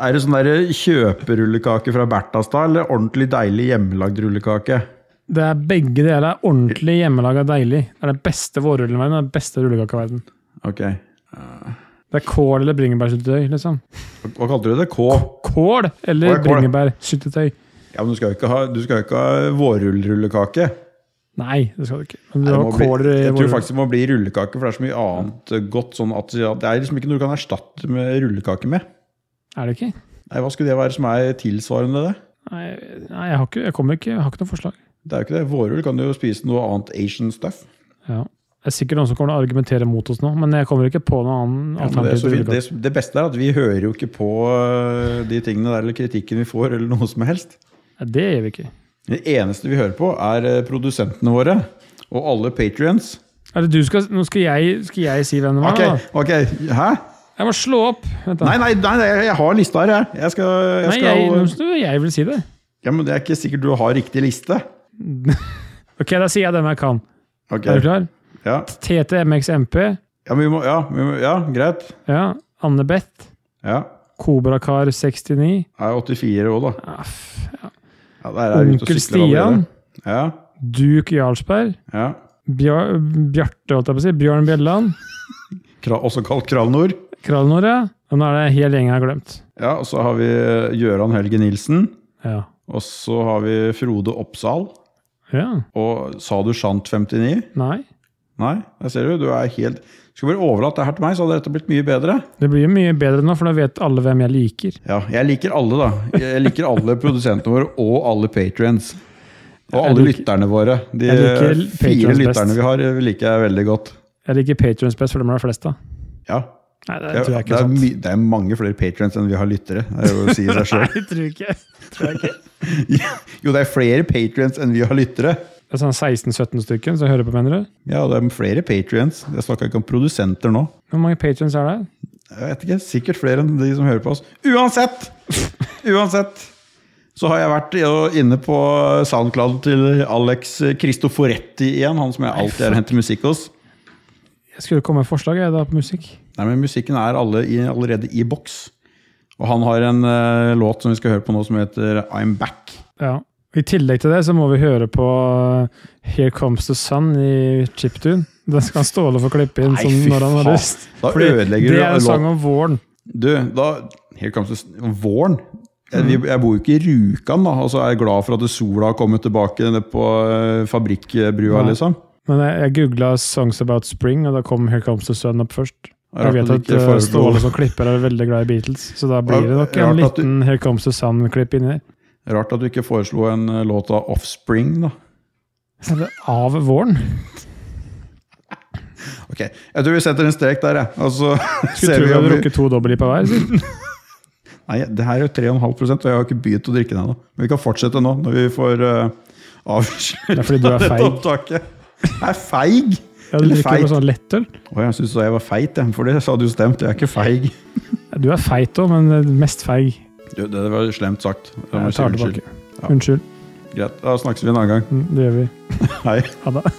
Er det sånn der kjøperullekake fra Bertastad, eller ordentlig deilig hjemmelagd rullekake? Det er begge deler. er Ordentlig hjemmelaga deilig. Det er den beste vårrullen i verden. og Den beste rullekaka i verden. Ok. Det er kål eller bringebærsyltetøy, liksom. Hva kalte du det? K? Kål eller Hva er kål? bringebærsyltetøy. Ja, men du skal jo ikke ha, du skal jo ikke ha vårrullrullekake. Nei, det skal du ikke. Men du Nei, det har må bli- kål i jeg tror vår- faktisk det må bli rullekake, for det er så mye annet godt. Sånn at at det er liksom ikke noe du kan erstatte med rullekake med. Er det ikke? Nei, Hva skulle det være som er tilsvarende det? Nei, nei jeg, har ikke, jeg kommer ikke. Jeg har ikke noe forslag. Det er jo ikke det. Vårrull kan jo spise noe annet Asian stuff. Ja. Det er sikkert noen som kommer til å argumentere mot oss nå, men jeg kommer ikke på noen annen Ja, men det, er alternativ. så til fint. rullekake. Det, det beste er at vi hører jo ikke på øh, de tingene der, eller kritikken vi får, eller [LAUGHS] noe som helst. Nei, det gjør vi ikke. Det eneste vi hører på, er øh, produsentene våre og alle patrions. Er det du skal, nå skal jeg, skal jeg si hvem det var. Ok, da? ok, hæ? Jeg må slå opp! Vent da. Nei, nei, nei, nei, jeg har lista her, jeg. Jeg skal, jeg Nei, jeg, nå skal skal jeg vil si det. Ja, Men det er ikke sikkert du har riktig liste. Ok, da sier jeg dem jeg kan. Ok, Er du klar? Ja, TTMXMP. ja, men vi må, ja, vi må, ja greit. Ja. Anne Beth. Ja. Kobrakar69. Jeg er 84 år, da. Ja, f- ja. Ja, der er jeg ute og Onkel sykler Stian. allerede. Ja, Duke Jarlsberg. ja. Bjar Bjarte, holdt jeg på å si. Bjørn Bjelland. Kra, også kalt Kralnor. Kralnor, ja. Og nå er det en hel gjeng jeg har glemt. Ja, og så har vi Gøran Helge Nilsen. Ja. Og så har vi Frode Oppsal. ja. Og sa du sant 59? Nei. Nei, der ser du. Du er helt Skulle bare overlatt det her til meg, så hadde dette blitt mye bedre. Det blir jo mye bedre nå, for nå vet alle hvem jeg liker. Ja, jeg liker alle, da. Jeg liker alle produsentene våre, og alle patrions. Og Jeg alle liker- lytterne våre. De eh, Jeg liker fire patrons best. lytterne vi har, eh, liker jeg veldig godt. Jeg liker Patrions best, for dem er det flest av. Ja. Nei, det Det, tror jeg det, ikke sånn. er, er sant. my, det er mange flere patrions enn vi har lyttere. Det er jo å si [LAUGHS] seg Nei, selv. jeg tror ikke. Tror jeg ikke. Jo, det er flere patrions enn vi har lyttere. Det er sånn 16-17 stykken som hører på, mener du? Ja, det er flere patrions. Jeg snakker ikke om produsenter nå. Hvor mange patrions er det? Jeg vet ikke, sikkert flere enn de som hører på oss. Uansett! [LAUGHS] Uansett! Så har jeg vært i- inne på SoundCloud til Alex Cristoforetti igjen, han som jeg alltid har hentet musikk hos. Jeg skulle komme med forslag jeg, da, på musikk. Nei, men musikken er alle i, allerede i boks. Og han har en eh, låt som vi skal høre på nå som heter I'm Back. Ja. I tillegg til det så må vi høre på eh, Here Comes the Sun i Chiptune. Den skal Ståle få klippe inn Nei, som fy når han har faen. lyst. Da Fordi ødelegger det er du en sang låten. om våren. Du, da Here comes the s- våren. Jeg, vi- jeg bor jo ikke i Rjukan, da, og så er jeg glad for at sola har kommet tilbake ned på eh, fabrikkbrua, Nei. liksom. Men jeg, jeg googla 'Songs About Spring', og da kom 'Here Comes the Sun' opp først. Jeg Rart vet du at ikke eh, foreslo- Ståle som klipper er veldig glad i Beatles, så da blir det nok en Rart at du- liten 'Here Comes the Sun'-klipp inni der. Rart at du ikke foreslo en eh, låt av Offspring, da. Så det er Sånn, Av våren. Ok, Jeg tror vi setter en strek der, jeg. Og så [LAUGHS] Skulle ser tro vi vi om hadde vi rukket to dobbeltlipp av hver. [LAUGHS] sier. Nei, det her er jo 3,5 og jeg har ikke begynt å drikke den ennå. Men vi kan fortsette nå, når vi får [LAUGHS] uh, Det er avslørt fordi du er dette feig. opptaket. Jeg er feig! Ja, du Eller drikker feit. med sånn lettøl. Å, jeg syns jeg var feit, jeg, for det sa du stemt. Jeg er ikke feig. Ja, Du er feit òg, men eh, mest feig. Du, det var slemt sagt. Jeg må Jeg si tar unnskyld. tilbake. Unnskyld. Greit, da snakkes vi en annen gang. Mm, Det gjør vi. Hei. Ha det.